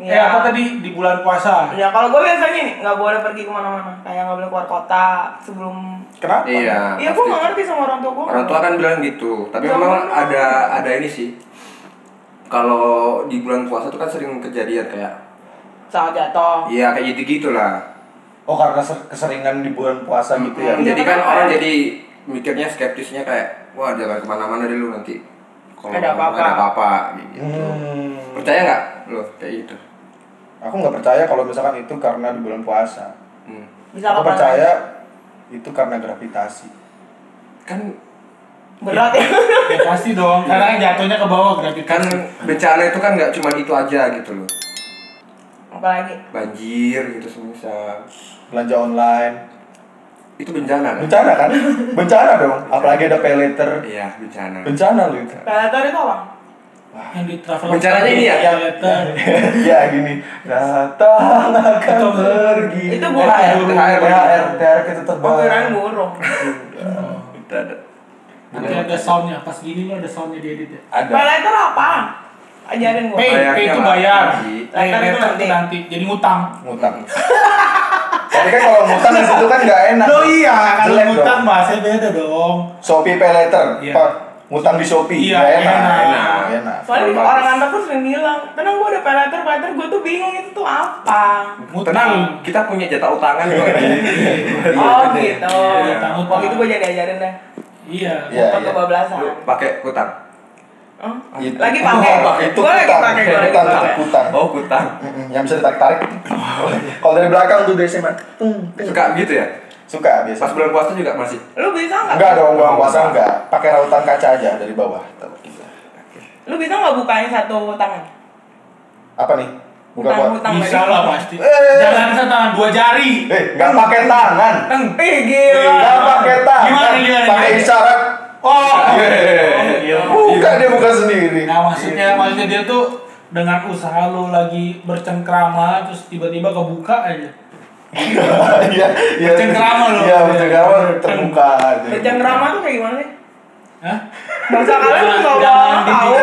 F: Eh
C: Iya.
F: apa tadi di bulan puasa?
C: Ya kalau gue biasanya nih nggak boleh pergi kemana-mana, kayak nggak boleh keluar kota sebelum.
F: Kenapa?
D: Iya.
C: Iya gue
D: pasti.
C: nggak ngerti sama orang tua gue.
D: Orang tua kan bilang gitu, tapi
C: Jangan.
D: memang ada ada ini sih. Kalau di bulan puasa tuh kan sering kejadian kayak
C: Saat jatuh.
D: Iya kayak gitu gitulah.
B: Oh karena ser- keseringan di bulan puasa gitu ya.
D: Jadi
C: Iya,
D: kan
C: kenapa?
D: orang jadi mikirnya skeptisnya kayak wah jangan kemana-mana deh lu nanti. Kalau
C: Ada apa-apa.
D: Ada apa-apa. Gitu.
B: Hmm.
D: Percaya nggak lo kayak gitu?
B: Aku nggak percaya kalau misalkan itu karena di bulan puasa.
D: Hmm.
C: Bisa
B: Aku
C: kapan
B: percaya itu karena gravitasi.
D: Kan
C: Berat ya.
F: Ya pasti dong. Karena kan jatuhnya ke bawah gravitasi.
D: kan bencana itu kan nggak cuma itu aja gitu loh.
C: Apalagi.
D: Banjir gitu semisal.
B: Belanja online.
D: Itu bencana kan?
B: Bencana kan? Bencana dong. Apalagi ada pay later.
D: Iya bencana.
B: Bencana lu itu.
C: Peletor itu apa?
F: yang di travel.
D: Rencananya ini ya?
B: ya gini. Datang akan
F: Itu-
B: pergi.
C: itu bukan
B: THR,
F: ya?
B: THR, THR, THR kita
C: Oh, kirain
B: terbang.
C: burung.
D: Tidak ada.
F: Nanti ada soundnya. Pas gini lo ada soundnya di edit ya.
B: Ada.
C: Peletor apa? Ajarin gue.
F: Pay, pay
D: Bayarnya
F: itu
D: lah,
F: bayar.
D: nanti.
F: Pay
C: Nanti
F: letter
C: nanti.
F: itu nanti. Jadi ngutang.
B: Ngutang. Tapi kan kalau ngutang di situ kan nggak enak.
F: iya.
B: Jelek dong.
F: bahasanya beda dong.
B: Shopee pay later.
F: Iya.
B: Pak, ngutang di Shopee.
F: Iya,
B: Nggak enak.
F: enak.
B: Nggak enak.
C: Soalnya
D: Bagus.
C: orang kantor tuh sering bilang, tenang gue ada peletor, peletor gue tuh bingung itu tuh apa.
F: Ngutang.
D: Tenang, kita punya jatah utangan kok.
B: Iya,
C: Oh gitu.
F: Iya, takut.
C: Waktu itu gue jadi ajarin deh.
F: Iya.
B: Iya,
C: Untuk
B: iya.
C: kebablasan.
D: Lu pakai kutang.
C: Hah?
B: Itu-
C: Lagi pakai.
B: Oh, pakai itu
C: Gua lagi
B: kutang.
C: pakai, gua lagi
B: Kutang,
C: pakai.
B: kutang.
D: Oh kutang.
B: Mm-mm, Yang bisa ditarik-tarik. Kalau dari belakang tuh biasanya man. Tung, tung.
D: Suka gitu ya?
B: Suka
D: Pas
B: biasa.
D: bulan puasa juga masih.
C: Lu bisa nggak?
B: Enggak dong, gua puasa enggak. Pakai rautan kaca aja dari bawah. Tahu kita.
C: Lu bisa nggak bukain satu tangan?
B: Apa nih? Bukan
C: Utang,
B: buat.
C: utang
F: Bisa
C: berarti.
F: lah pasti.
B: Eh.
F: Jangan bisa tangan dua jari.
B: Eh, enggak pakai tangan.
C: Ih gila.
B: Enggak pakai tangan.
F: Gimana, gimana,
B: Pakai
F: gimana?
B: isyarat. Iya.
F: Oh. iya.
B: Buka dia buka sendiri.
F: Nah maksudnya maksudnya dia tuh dengan usaha lo lagi bercengkrama terus tiba-tiba kebuka aja.
B: Iya, iya.
F: Bercengkrama lu.
B: Iya, bercengkrama terbuka.
C: Bercengkrama tuh kayak gimana sih?
F: Hah?
C: Bahasa kalian tuh nggak
F: Jangan
C: bakal tahu.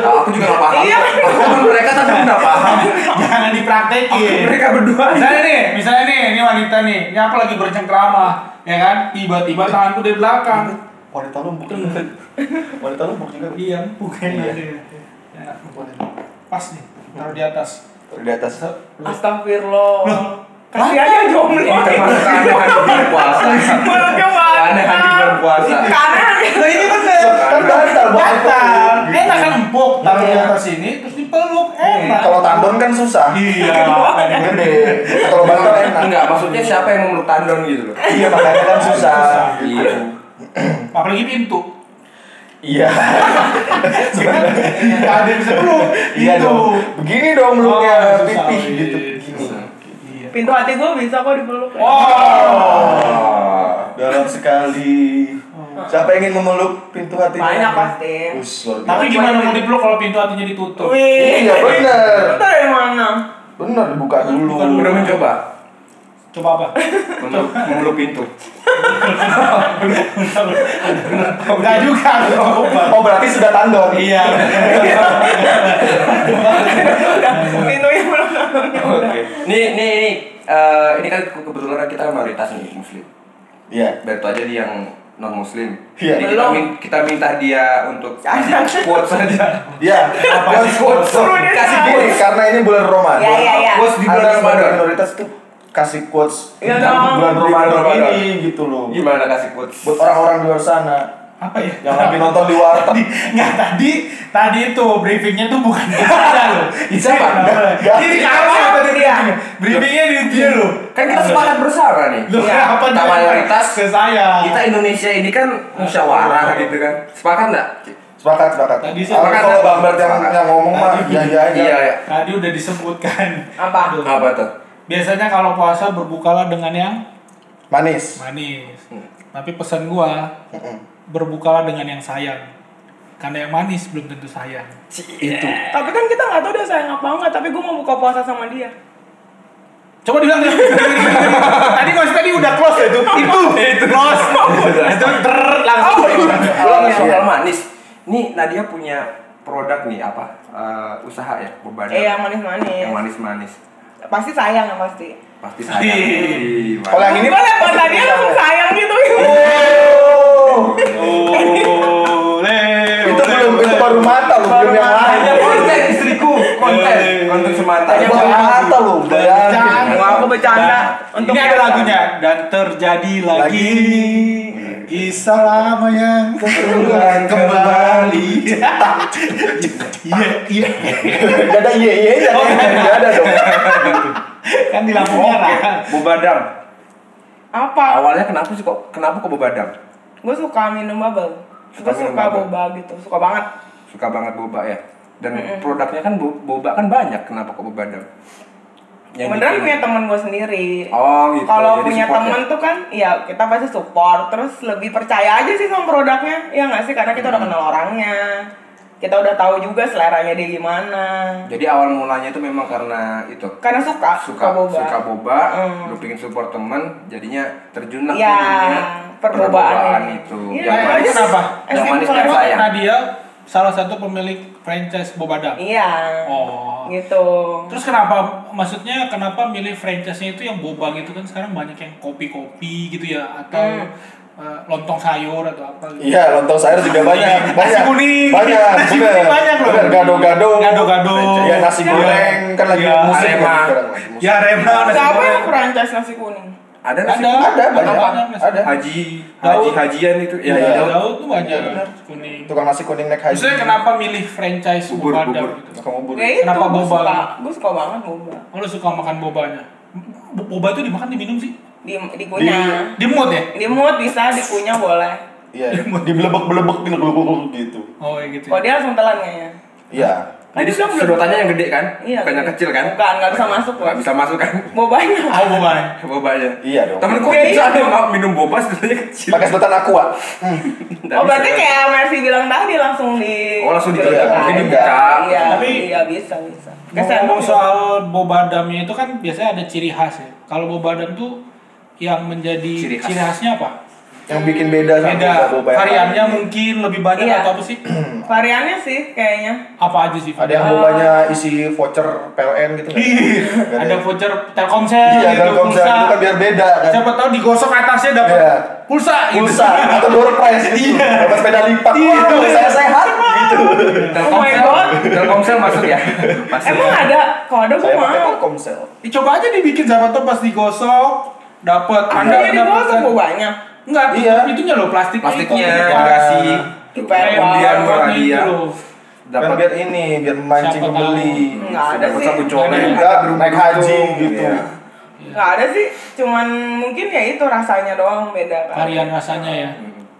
D: Nah, aku juga nggak paham.
C: Iya.
D: Aku sama mereka tapi aku nggak paham.
F: Jangan dipraktekin.
D: Mereka berdua.
F: Misalnya nih, misalnya nih, ini wanita nih, ini aku lagi bercengkrama, ya kan? Tiba-tiba tanganku dari belakang.
B: Wanita lumpuh. Wanita lumpuh juga.
F: Diam, bukan
B: Iya.
F: aja. Ya, pas nih, taruh di atas.
B: Dari atas.
C: Astagfirullah. Kasih aja jomblo.
D: Termasuk keanehan di bulan puasa.
C: Malah kemana?
D: Keanehan di bulan puasa.
C: Iya. Karena
F: Nah ini bener.
B: Kan bantal,
F: Batal. Enak
A: Gitu.
F: kan empuk, taruh
A: Iya.
F: di atas sini, terus dipeluk, enak.
B: Kalau tandon kan susah.
F: Iya.
B: Gede. Kalau bantal enak.
D: Enggak, maksudnya siapa yang memeluk tandon gitu loh.
B: Iya, makanya kan susah.
D: Iya.
F: Apalagi pintu.
B: Iya.
F: Gak ada yang bisa peluk.
B: Iya
F: Gitu.
B: dong. Begini dong meluknya
F: Oh, susah,
B: pipih
F: iya.
B: gitu. Gini.
F: Iya.
C: pintu hati gue bisa kok dipeluk.
F: Wow.
B: Ah, Dalam sekali. Siapa yang ingin memeluk pintu hati?
C: Banyak
B: Tuhan?
C: pasti.
B: Us, luar biasa.
F: Tapi gimana mau dipeluk kalau pintu hatinya ditutup?
C: Wih.
B: Iya bener.
C: Lu tau dari mana?
B: Bener dibuka dulu.
F: Bukan
D: Udah mencoba
F: Coba apa?
D: memeluk memeluk pintu.
F: Enggak juga. Coba.
B: Oh berarti sudah tandon.
F: Iya.
C: Pintunya belum tahu.
D: Oke. Nih, nih, nih. eh, ini kan ke- kebetulan kita mayoritas nih muslim.
B: Iya.
D: Biar itu aja nih yang non muslim.
B: Iya.
D: Jadi kita,
C: Belum.
D: min- kita minta dia untuk quotes saja.
B: Iya. Apa sih
C: Suruh dia
B: Kasih
C: tahu.
B: quotes karena ini bulan Ramadan.
C: Ya, ya, ya.
D: Quotes di bulan
B: Ada
D: Ramadan.
B: Minoritas tuh kasih quotes
C: Iya
B: tentang
C: dong.
B: bulan
D: Di bulan
B: Ramadan
D: Ramadan.
B: ini gitu loh.
D: Gimana kasih quotes?
B: Buat orang-orang di luar sana
F: Apa ya?
B: yang lagi nonton di warteg.
F: Tadi- Nggak tadi tadi itu briefingnya tuh bukan di saya loh. Di
D: Iya, Siapa?
F: Iya,
A: Iya.
B: Nggak.
F: Ini kamu yang tadi briefingnya. Briefingnya di dia loh.
D: Kan kita sepakat bersama nih. Iya,
F: Loh,
A: Iya.
F: apa
D: kita
F: dia-
D: mayoritas
F: ke saya?
D: kita Indonesia ini kan musyawarah gitu kan. Sepakat enggak?
B: Sepakat, sepakat.
F: Tadi sih-
B: Kalau kalau
D: Sepakat.
B: Bang Bert yang, yang ngomong mah ya ya aja.
D: Iya, ya.
F: Tadi udah disebutkan.
C: Apa?
F: Aduh.
D: Apa tuh?
F: Biasanya kalau puasa berbukalah dengan yang
B: Manis.
F: manis.
A: Hmm.
F: Tapi pesan gua
B: Mm-mm.
F: berbukalah dengan yang sayang. Karena yang manis belum tentu sayang.
D: Itu.
C: Tapi kan kita nggak tahu dia sayang apa enggak. Tapi gue mau buka puasa sama dia.
A: Coba dibilang ya. gini, gini, gini, gini. Tadi masih tadi udah close ya itu. Itu itu close. itu ter langsung.
C: Iya,
D: Kalau nggak soal manis, nih Nadia punya produk nih apa Eh, usaha ya beban
C: Iya, yang manis-manis.
D: yang manis-manis
C: Pasti sayang ya pasti.
D: pasti saya
C: Iya.
D: Ih,
B: Kalau yang ini
C: Gimana kalau tadi langsung sayang gitu.
B: itu belum itu baru mata lu belum yang lain.
D: Tanya konten istriku konten konten semata
B: Itu baru mata lu. bayangin.
A: Jangan.
C: Mau aku bercanda untuk
A: Ini ada lagunya dan terjadi lagi kisah lama yang terulang kembali. Iya iya
B: Gak ada ye ye nya
A: Oh,
B: nih. Gak ada dong.
A: kan di lampu merah.
D: Bobadam
C: Apa?
D: awalnya kenapa sih kok kenapa kok Bobadam
C: Gue suka minum bubble.
D: Suka
C: Gue
D: minum
C: suka
D: bubble.
C: boba gitu, suka banget.
D: suka banget boba ya dan produknya kan bo- boba kan banyak kenapa kok Bobadam Yang
C: Beneran
D: bikin-
C: punya teman gue sendiri.
D: oh gitu
C: Kalau
D: Jadi
C: punya
D: support ya.
C: teman tuh kan, ya kita pasti support. Terus lebih percaya aja sih sama produknya, ya nggak sih? Karena kita udah
D: Hmm.
C: kenal orangnya, kita udah tahu juga seleranya dia gimana.
D: jadi awal mulanya itu memang karena itu
C: Karena suka,
D: suka
C: boba.
D: suka boba,
C: Mm.
D: lu pingin support temen, jadinya terjun lah
C: Ya,
D: ke dunia
C: perbobaan ini.
D: itu.
C: Iya,
D: yang
A: iya,
D: manis,
A: kenapa?
D: yang
C: Asli
D: manis
C: bukan
D: dan
C: apa,
D: sayang.
A: Nadia salah satu pemilik franchise Bobadam.
C: Iya.
A: Oh.
C: Gitu.
A: Terus kenapa maksudnya kenapa milih franchise-nya itu yang boba gitu kan sekarang banyak yang kopi-kopi gitu ya atau eh, lontong sayur atau apa gitu.
B: Iya, lontong sayur juga
A: Nasi
B: banyak. Banyak.
A: kuning.
B: Banyak.
A: Nasi
B: bener.
A: kuning banyak loh.
B: Bener, Gado-gado.
A: Gado-gado.
B: Ya nasi
A: Iya.
B: goreng kan lagi
A: Iya.
B: musim
D: Arema.
B: kan sekarang lagi musim.
A: Ya Rema nasi
C: Siapa
A: goreng.
C: yang franchise nasi kuning?
D: Ada nasi
A: Ada,
B: Ada, banyak.
A: nasi-
B: Ada.
D: haji haji
B: Daud.
D: hajian itu
B: Iya.
D: ya, ya.
A: Ada Daud tuh banyak
B: Iya, benar.
A: kuning.
B: Tukang nasi kuning naik haji.
A: Maksudnya kenapa milih franchise
D: Bubur,
A: boba
D: bubur.
A: Dam gitu?
B: Tukang bubur.
C: Ya itu,
A: Kenapa
C: gue
A: boba?
C: suka, gue suka banget boba.
A: Oh, lu suka makan bobanya? B- Boba itu dimakan diminum sih?
C: Di, dikunyah.
A: Di mood ya?
C: Di, mood bisa, dikunyah boleh.
B: Iya. Dibelebek-belebek gitu gluk-gluk-gluk gitu.
A: Oh ya gitu. Ya.
C: Kalau dia langsung telan kayaknya.
B: Iya.
C: Kan dia
D: Jadi
C: bilang
D: sedotannya yang gede kan?
C: Iya,
D: Bukan yang
C: gede.
D: kecil kan?
C: Bukan, nggak bisa masuk,
D: Nggak
C: Bos.
D: bisa masuk kan?
C: Bobanya.
A: Oh bobanya.
D: Bobanya.
B: Iya dong.
D: Temen kok
C: Iya, iya.
D: bisa ada yang mau minum boba sedotannya kecil.
B: Pakai sedotan aqua.
D: Nggak
C: Oh berarti
D: bisa.
C: kayak Mercy bilang tadi langsung di
D: Oh, langsung
B: digeledah. Mungkin
D: dibuka.
C: Iya,
A: Tapi-
C: iya bisa bisa. Kesan
A: Ngomong soal bobadamnya itu kan biasanya ada ciri khas ya. Kalau bobadam tuh yang menjadi
D: Ciri
A: ciri,
D: khas.
A: khasnya apa?
B: Yang bikin beda sama
A: Beda
B: boba yang
A: variannya
B: lain.
A: mungkin lebih banyak
C: Iya.
A: atau apa sih?
C: variannya sih kayaknya.
A: apa aja sih?
B: Ada yang bobanya isi voucher PLN gitu kan?
A: Ih, ada voucher Telkomsel
B: Iya,
A: gitu,
B: Telkomsel
A: pulsa.
B: itu kan biar beda kan.
A: Siapa tahu digosok atasnya dapat
B: Iya.
A: pulsa. gitu.
B: Pulsa atau door prize gitu.
A: Iya.
B: Dapat sepeda lipat.
A: Iya.
B: Wah, saya sehat gitu.
C: Oh my
D: Telkomsel,
C: God.
D: Telkomsel masuk ya? Masuk.
C: Emang ada? Kalau ada gue
B: Saya pakai
C: mau.
B: Telkomsel.
A: Ih, coba aja dibikin siapa tahu pas digosok dapat
C: Ada yang digosok bobanya.
A: Enggak,
B: Iya.
A: itunya loh plastiknya.
D: plastiknya iya.
A: itu.
D: bagasi
C: Kayak
D: kemudian
A: warna
D: hadiah
A: gitu loh.
B: Kan
D: dapat
B: biar ini, biar mancing
A: Siapa tahu.
B: pembeli.
C: Nggak ada
D: dapat
C: sih.
D: sapu colek
B: Enggak, naik haji gitu.
D: Iya.
C: Nggak ada sih. Cuman mungkin ya itu rasanya doang beda kan.
A: Varian rasanya ya.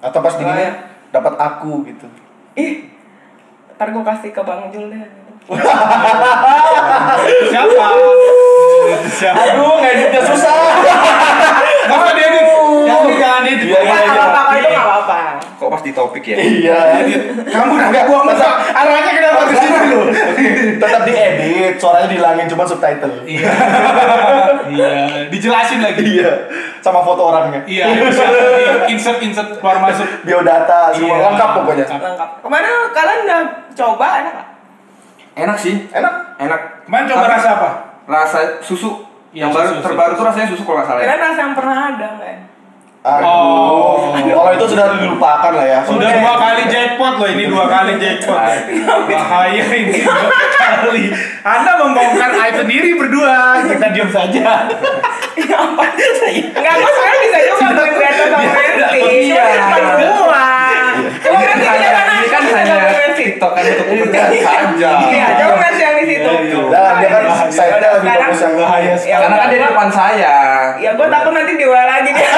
B: Atau pas
C: Iya.
B: dinginnya dapat aku gitu.
C: Ih. Ntar gue kasih ke Bang Jul deh.
A: Siapa? Siapa?
B: Aduh, ngeditnya susah.
A: Masa dia edit? Ya, ini jangan edit.
B: Iya, iya,
C: Nggak
B: iya.
C: apa-apa, kalau itu nggak apa-apa.
D: kok pas di topik ya
B: Iya.
A: Kamu udah gak buang masa arahnya ke dalam sini lu.
B: Tetap diedit, suaranya dihilangin cuma subtitle.
A: Iya. Iya, dijelasin lagi.
B: Iya, sama foto orangnya.
A: Iya, insert insert keluar masuk.
B: Biodata semua
A: Iya.
B: lengkap pokoknya.
C: Lengkap. Kemarin kalian udah coba enak nggak?
D: enak sih
B: Enak.
D: enak
A: Kemarin coba
D: Tapi
A: rasa apa?
D: rasa susu
A: Iya,
D: yang baru
A: susu,
D: terbaru
A: susu.
D: tuh rasanya susu kalau nggak salah ya.
C: Kalian rasa yang pernah ada nggak? ya?
B: Aduh.
A: Oh.
B: Kalau itu sudah dilupakan lah ya.
A: Sudah dua kali jackpot loh ini dua kali jackpot. Bahaya ini dua kali. Anda membongkar aib sendiri berdua. Kita diam saja.
C: Iya, apa sih? Enggak, gue sebenarnya bisa juga beli kereta sama Mercy.
D: Iya.
C: Iya. Cuma semua. Cuma
D: Ini
C: Mercy
D: kan
C: dia
D: hanya-
C: kan
D: ini kan
C: bisa
D: hanya
C: sama Mercy.
D: tiktok kan untuk kepentingan saja
C: Iya, cuma Mercy yang di situ.
B: Nah, dia kan
A: Bahaya.
B: saya Iya. lebih
C: Sekarang-
B: fokus yang
A: Bahaya
C: Ya,
D: karena kan dia di
C: udah.
D: depan saya
A: Iya,
C: Ya gue takut nanti diwel lagi dia.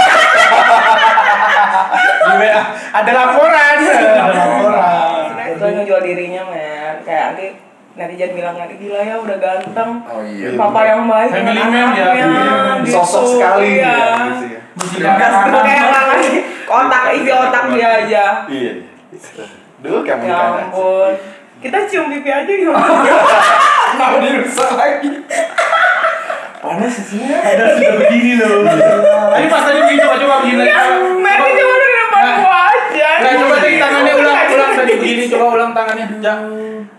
A: Di WA, Ada laporan. Ada laporan.
C: Sebenarnya Gue ngejual dirinya men. Kayak nanti nanti jangan bilang nanti gila ya udah ganteng.
D: oh iya
C: Papa yang baik.
A: Family
C: dengan
A: man ya.
C: anaknya, gitu.
B: sosok sekali
C: Iya.
B: dia, gitu ya.
A: Menjijikan
C: Gue
A: anak.
C: kayak orang lagi otak isi otak dia aja.
B: Iya. Dulu kayak
C: Ya
B: menikah aja.
C: ampun. Kita cium pipi aja gimana?
D: Iya. kenapa dirusak lagi
G: mana sisinya?
A: Ada sudah begini loh. Tadi pas tadi begini coba coba begini.
C: Ya, Mary cuma dari depan
A: Nah.
C: gua aja. Iya.
A: Nah, coba tadi tangannya ulang
C: Nggak
A: ulang tadi begini coba ulang tangannya. Ya.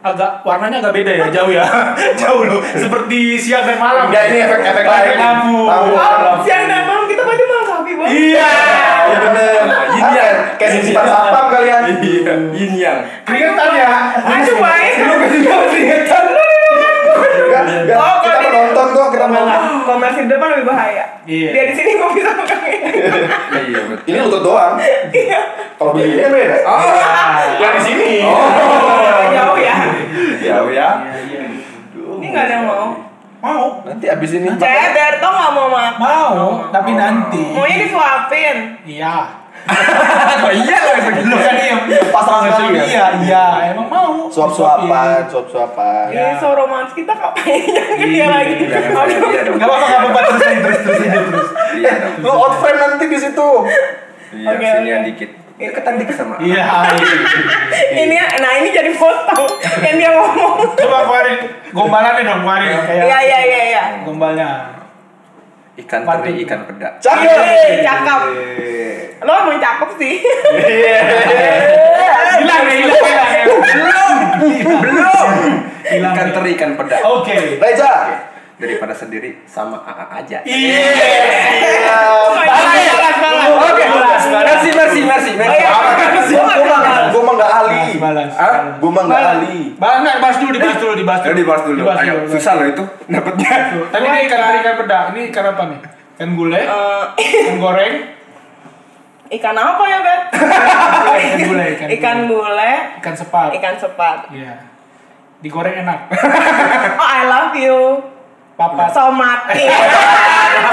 A: Agak warnanya agak beda ya, jauh ya. jauh loh. Seperti siang dan malam.
B: Ya,
D: Enggak, ini efek-efek
A: Efek
D: lain.
A: lampu.
B: Lampu.
C: Oh, siang dan malam kita pasti malam kopi banget.
A: Iya.
B: Iya bener.
D: Yin yang.
B: Iya, Kayak sisipan satpam ya. kalian.
D: Iya, yin yang.
A: Keringetan ya.
C: Aduh Ah, baik.
A: Iya. Keringetan.
B: Enggak, enggak.
C: Oh,
B: Kita
C: kalau
B: menonton kok kita mau.
C: Enggak, Komersi di depan lebih bahaya.
A: Iya.
C: Dia di sini kopi sama kami.
D: Iya, betul.
B: Ini lutut doang. Kalau beli ini ya? Ah, beda.
D: Oh.
A: Yang di sini.
C: Oh. Jauh ya.
B: Ya, ya.
C: Ini nggak ada yang mau.
A: Mau.
B: Nanti abis ini.
C: Saya Berto nggak mau makan.
A: Mau, Oh, tapi nanti.
C: Maunya disuapin.
A: Iya.
D: Oh iya lah
A: Lu kan diem.
B: Pasrah
A: Langsung
B: sekali ya?
A: Iya, iya. Emang mau.
B: Suap-suapan, suap-suapan.
A: Iya.
C: Ini so romans kita kapan yang dia lagi.
D: Iya dong.
A: Gak apa-apa, gak apa-apa. Terus aja, terus terus aja terus.
D: Iya dong.
B: Lu out frame nanti di situ.
D: Iya,
C: Oke,
D: sinian
C: oke.
D: dikit. Deketan dikit sama.
A: Iya.
C: Ini nah ini jadi potong yang dia ngomong.
A: Coba keluarin gombalannya dong, keluarin kayak
C: Iya iya iya iya.
A: gombalnya.
D: Ikan
A: Waduh.
D: teri, ikan Iya. peda.
B: Cakep.
C: Yeay, Cakep. Lo emang cakep sih.
A: Hilang ya, hilang hilang ya. Belum.
D: Belum.
A: Hilang
D: Ikan
A: ya.
D: teri, ikan peda.
A: Oke.
B: Reza.
D: Daripada sendiri sama AA aja.
A: Iya.
B: Iya.
C: Balas, balas, balas.
D: Oke,
A: Balas, balas.
D: merci, merci, merci,
C: Oh, iya.
D: merci.
C: Gua nggak
B: Gua
C: kenal.
B: mah- Gua mah nggak ahli.
A: Balas, balas.
D: Hah?
B: Gua mah nggak ahli.
A: Bang, nggak, bahas dulu, dibahas dulu, dibahas dulu.
D: Ayo dibahas dulu,
A: Dibahas
D: ayo.
A: dulu.
D: Susah loh itu dapetnya.
A: Tapi ini ikan teri, ikan peda. Ini ikan apa nih? Ikan gulai,
C: Eh,
A: ikan goreng,
C: Ikan apa ya, Bet?
A: ikan gulai, ikan gulai.
C: Ikan gulai,
A: ikan sepat.
C: ikan sepat.
A: Iya. Digoreng enak.
C: Oh, I love you.
A: Papa.
C: So much. Ah.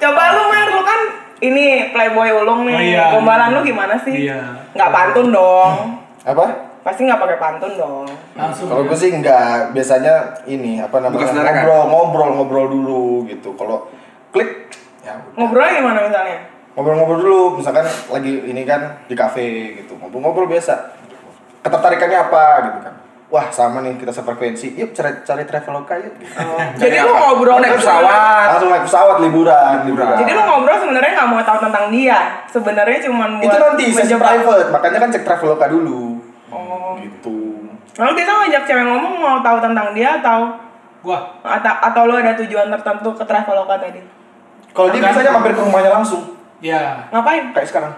C: Coba lu Mer, lu kan ini playboy ulung
A: Oh,
C: nih.
A: iya.
C: Gombalan lu gimana sih?
A: Iya.
C: Nggak pantun dong.
B: Apa?
C: Pasti nggak pakai pantun dong.
A: Langsung.
B: Kalau gue sih enggak, biasanya ini apa namanya
D: Bekas darah kan?
B: ngobrol, ngobrol, ngobrol dulu gitu. Kalau klik ya udah.
C: Ngobrol gimana misalnya?
B: ngobrol-ngobrol dulu misalkan lagi ini kan di kafe gitu ngobrol-ngobrol biasa ketertarikannya apa gitu kan wah sama nih kita sefrekuensi yuk cari cari traveloka yuk
C: Jadi lu
D: apa?
C: ngobrol
D: Oh, naik
C: terus-
D: pesawat.
B: langsung naik pesawat liburan gitu kan. liburan
C: Jadi lu ngobrol sebenarnya nggak mau tahu tentang dia. Sebenarnya cuman buat
B: itu nanti sesi
C: menjebak.
B: private makanya kan cek traveloka dulu
C: Oh.
B: gitu
C: Lalu biasa ngajak cewek ngomong mau tahu tentang dia atau
A: Gua.
C: atau, atau lu ada tujuan tertentu ke traveloka tadi?
B: kalau dia biasanya mampir ke rumahnya langsung
A: Ya.
C: Ngapain?
B: kayak sekarang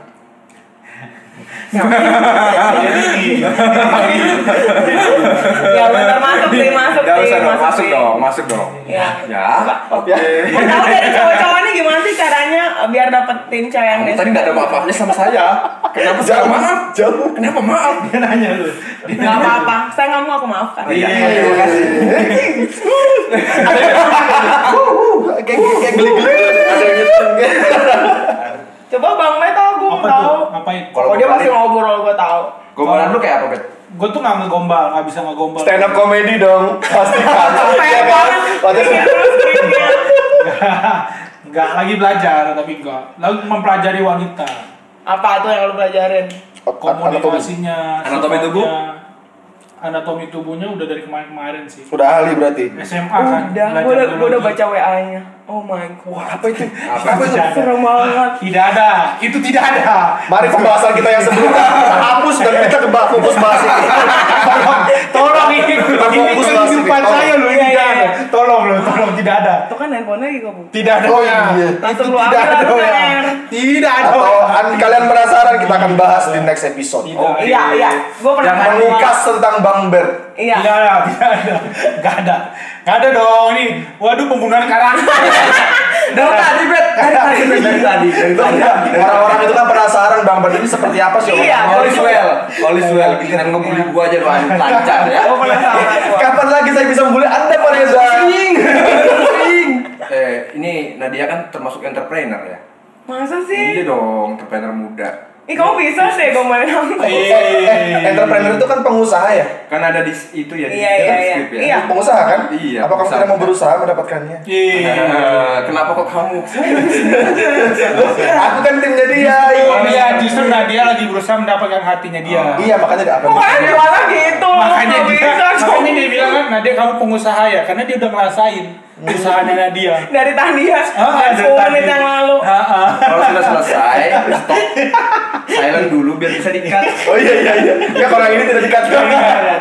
C: ya bentar masuk sih, masuk
D: Ya,
C: sih,
D: usah dong, masuk
C: sih.
D: dong, masuk dong.
C: Ya.
D: Ya.
B: oke
C: Mau tahu dari cowok-cowok ini gimana sih caranya eh, biar dapetin cewek yang
D: Kamu
C: dia
D: tadi
C: suka?
D: nggak ada maaf-maafnya sama saya. Kenapa saya
B: jauh
D: maaf?
B: jauh
D: Kenapa maaf?
A: Dia nanya lu.
C: Nggak apa-apa, saya nggak mau aku maafkan.
D: Iya.
B: terima kasih kayak kayak geli geli ada yang nyetir
C: Coba Bang Meta, gue mau
A: Apa
C: tahu.
A: tuh? Ngapain?
D: Kalau
C: Oh dia
D: gua
C: pasti ngobrol, gue tahu.
D: Gombalan lu kayak apa, Bet?
A: Gue tuh nggak ngegombal, nggak bisa ngegombal.
B: stand up comedy dong pasti kan
C: Kayak banget.
B: Wajar
C: Iya, terus gini.
A: Enggak, lagi belajar tapi enggak. Lalu mempelajari wanita,
C: Apa tuh yang lu pelajarin?
A: komunikasinya, sifatnya.
D: Anatomi tubuh?
A: Anatomi tubuhnya udah dari kemarin-kemarin sih.
B: sudah ahli berarti
A: SMA kan.
C: Oh, Udah,
A: belajar
C: gue udah, gua udah
A: biologi.
C: baca WA-nya. Oh my god.
B: apa itu
D: Apa
A: itu?
C: Serem banget.
A: Tidak ada, itu tidak ada.
B: mari pembahasan kita yang sebelumnya kita hapus dan kita kebah fokus bahas ini
A: Tolong ini, ini
B: fokus bahas ini,
A: kehidupan
B: tolong.
A: saya loh, ini
C: Iya,
A: tidak
C: iya,
A: ada. Tolong loh, tolong tidak ada.
C: Itu kan handphonenya digabung.
A: Tidak ada.
B: oh iya
C: Langsung
A: Itu
C: lu
A: tidak
C: ambil
A: ada,
C: langsung
A: ya.
C: air.
A: Tidak ada.
B: atau an- kalian penasaran kita akan bahas di next episode
A: Tidak.
B: Oh,
C: Iya, iya. Gue pernah
B: yang mengukas tentang Bang Bert
C: Iya.
A: Tidak ada, tidak ada. Enggak ada. Enggak ada dong ini. Waduh pembunuhan karakter.
D: Dari tadi, Bet. Dari tadi, Bet. Dari tadi. Dari tadi.
B: orang-orang itu kan penasaran Bang Bert ini seperti apa sih orangnya.
C: Iya.
D: All is well. All is well. Giliran ngebully gua aja doang lancar ya.
C: Gue pernah sama gua.
B: kapan lagi saya bisa boleh anda Pak Reza
D: Eh, ini Nadia kan termasuk entrepreneur ya?
C: Masa sih?
D: Iya dong, entrepreneur muda.
C: Ih kamu bisa sih gombalin aku.
A: Iya.
B: Eh, eh, entrepreneur itu kan pengusaha ya
D: Kan ada di s- itu ya di
C: Iya,
D: di
C: iya,
D: script
C: iya.
D: ya.
C: Iya.
B: pengusaha kan
D: Iya,
B: apa kamu
D: pengusaha.
B: tidak mau berusaha mendapatkannya
A: Iya.
D: Eh, Kenapa kok kamu?
B: aku kan timnya dia iya.
A: Oh iya, justru Nadia lagi berusaha mendapatkan hatinya dia.
B: Iya makanya gak apa
C: Pokoknya jualan gitu.
A: Makanya
C: Nggak
A: dia,
C: bisa,
A: makanya
C: cowok.
A: dia bilang
F: kan, Nadia kamu pengusaha ya karena dia udah ngerasain
B: Hmm.
F: usahanya Nadia
C: dari tadi ya
F: Ah, dari
C: 10
F: tadi.
C: menit yang lalu
F: Ah, ah.
D: Kalau sudah selesai, stop. Silent dulu biar bisa di-cut.
B: Oh iya iya iya. Enggak kalau yang ini tidak dikat.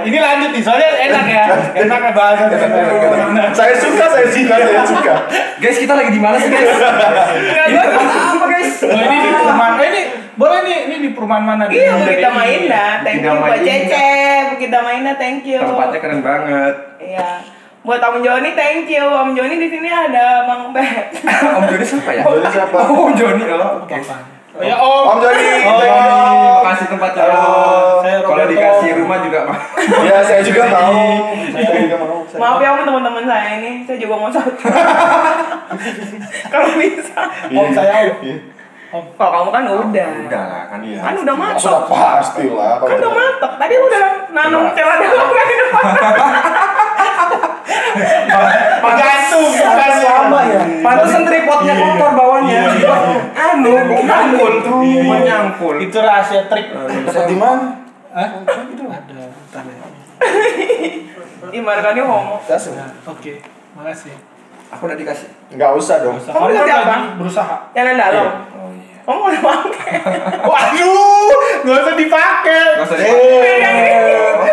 F: ini lanjut nih soalnya enak ya enak ya bahasa
B: saya suka, saya suka, saya suka.
D: Guys, kita lagi di mana sih, guys? Ini tempat apa, guys?
F: Oh, ini di perumahan eh, ini boleh nih ini di perumahan mana nih?
C: iya
F: Yang dari
C: Bukita
F: ini.
C: Mainda thank
D: Bukita
C: you buat
D: Mainda.
C: Cece Bukita Mainda thank you
D: Tempatnya keren banget.
C: iya buat Om Joni thank you Om Joni di sini ada Bang Pet
D: Om Joni siapa ya?
B: Jadi siapa?
D: Oh, Om Joni. Oh, oke.
F: Oh, ya Om
B: Om Joni.
F: Om
B: thank you.
F: Joni.
D: Kasih tempat
B: Halo.
D: Om.
F: Saya
D: Kalau
F: Roberto.
D: dikasih rumah juga mah.
B: Ya, saya juga mau. Iya, Saya juga mau. Saya-
C: maaf ya Om teman-teman saya ini saya juga mau satu kalau bisa
F: Om saya Om
B: Iya.
C: kalau kamu kan udah
D: Udah lah kan
B: Iya.
C: kan udah matok
B: Sudah pasti lah.
C: kan udah matok tadi lu udah nanam celana kamu kan di depan
F: Gantung,
D: Iya,
F: bukan sama ya.
D: kan Pantesan tripodnya kotor bawahnya. Anu, Iya, nyangkul Iya. tuh, menyangkul.
F: Itu rahasia trik.
B: Dapat di mana?
F: Hah? Itu ada. Bentar ya.
C: gimana kan dia homo
B: Saya suka.
F: Nah, Oke, makasih.
D: Aku udah dikasih.
B: Enggak usah dong.
F: Kamu
C: kasih
F: kan
C: apa?
F: lagi berusaha.
C: celana dalam
D: Oh iya.
C: kamu udah pakai
F: Waduh, nggak usah dipakai.
B: Eh,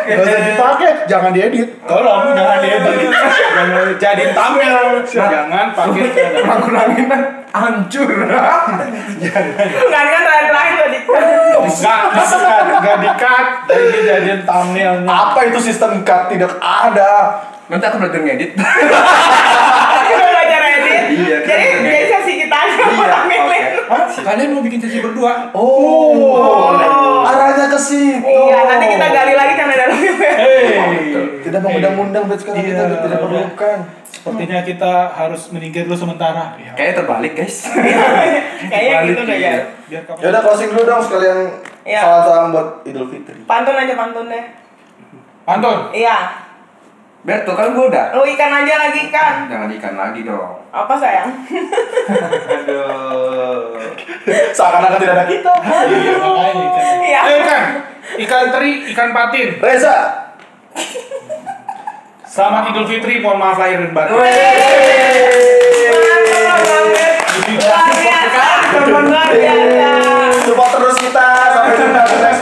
B: Nggak usah dipakai, jangan diedit.
F: Tolong jangan diedit. Jangan jadi tampil. Jangan pakai celana.
D: Aku langinan hancur.
C: kan kan terakhir-terakhir tadi
F: Enggak, enggak, enggak dikat. Jadi jadian thumbnailnya.
B: Apa itu sistem cut? Tidak ada.
D: Nanti aku belajar ngedit.
C: aku udah belajar edit
D: Iya, kan. Iya,
C: jadi jadi sesi kita aja mau tampilin
F: Hah? Kalian mau bikin sesi berdua?
B: Oh,
C: Oh.
B: arahnya ke situ.
C: iya nanti kita gali lagi kan celana dalamnya
F: Hey.
B: Tidak mengundang-undang dan sekarang
F: Iya,
B: kita udah tidak
F: udah.
B: perlukan.
F: Sepertinya kita harus menyingkir dulu sementara.
D: Kayaknya terbalik, guys.
C: kayaknya
D: Balik,
C: gitu deh
D: iya.
C: ya
F: Biar
B: Ya udah closing dulu dong sekalian
C: Iya.
B: salam-salam buat Idul Fitri.
C: pantun aja pantun deh
F: Pantun.
C: iya
D: Berto kan gua udah.
C: lu ikan aja lagi ikan
D: Jangan ikan lagi dong.
C: apa sayang
D: Aduh.
B: Seakan-akan tidak ada kita.
F: Iya, makanya ikan.
C: Iya.
F: Eh, ikan. Ikan teri, ikan patin.
B: Reza.
F: Selamat Idul Fitri, mohon maaf lahir dan batin.
C: Mantap banget. luar biasa luar biasa
B: Support terus kita sampai jumpa di next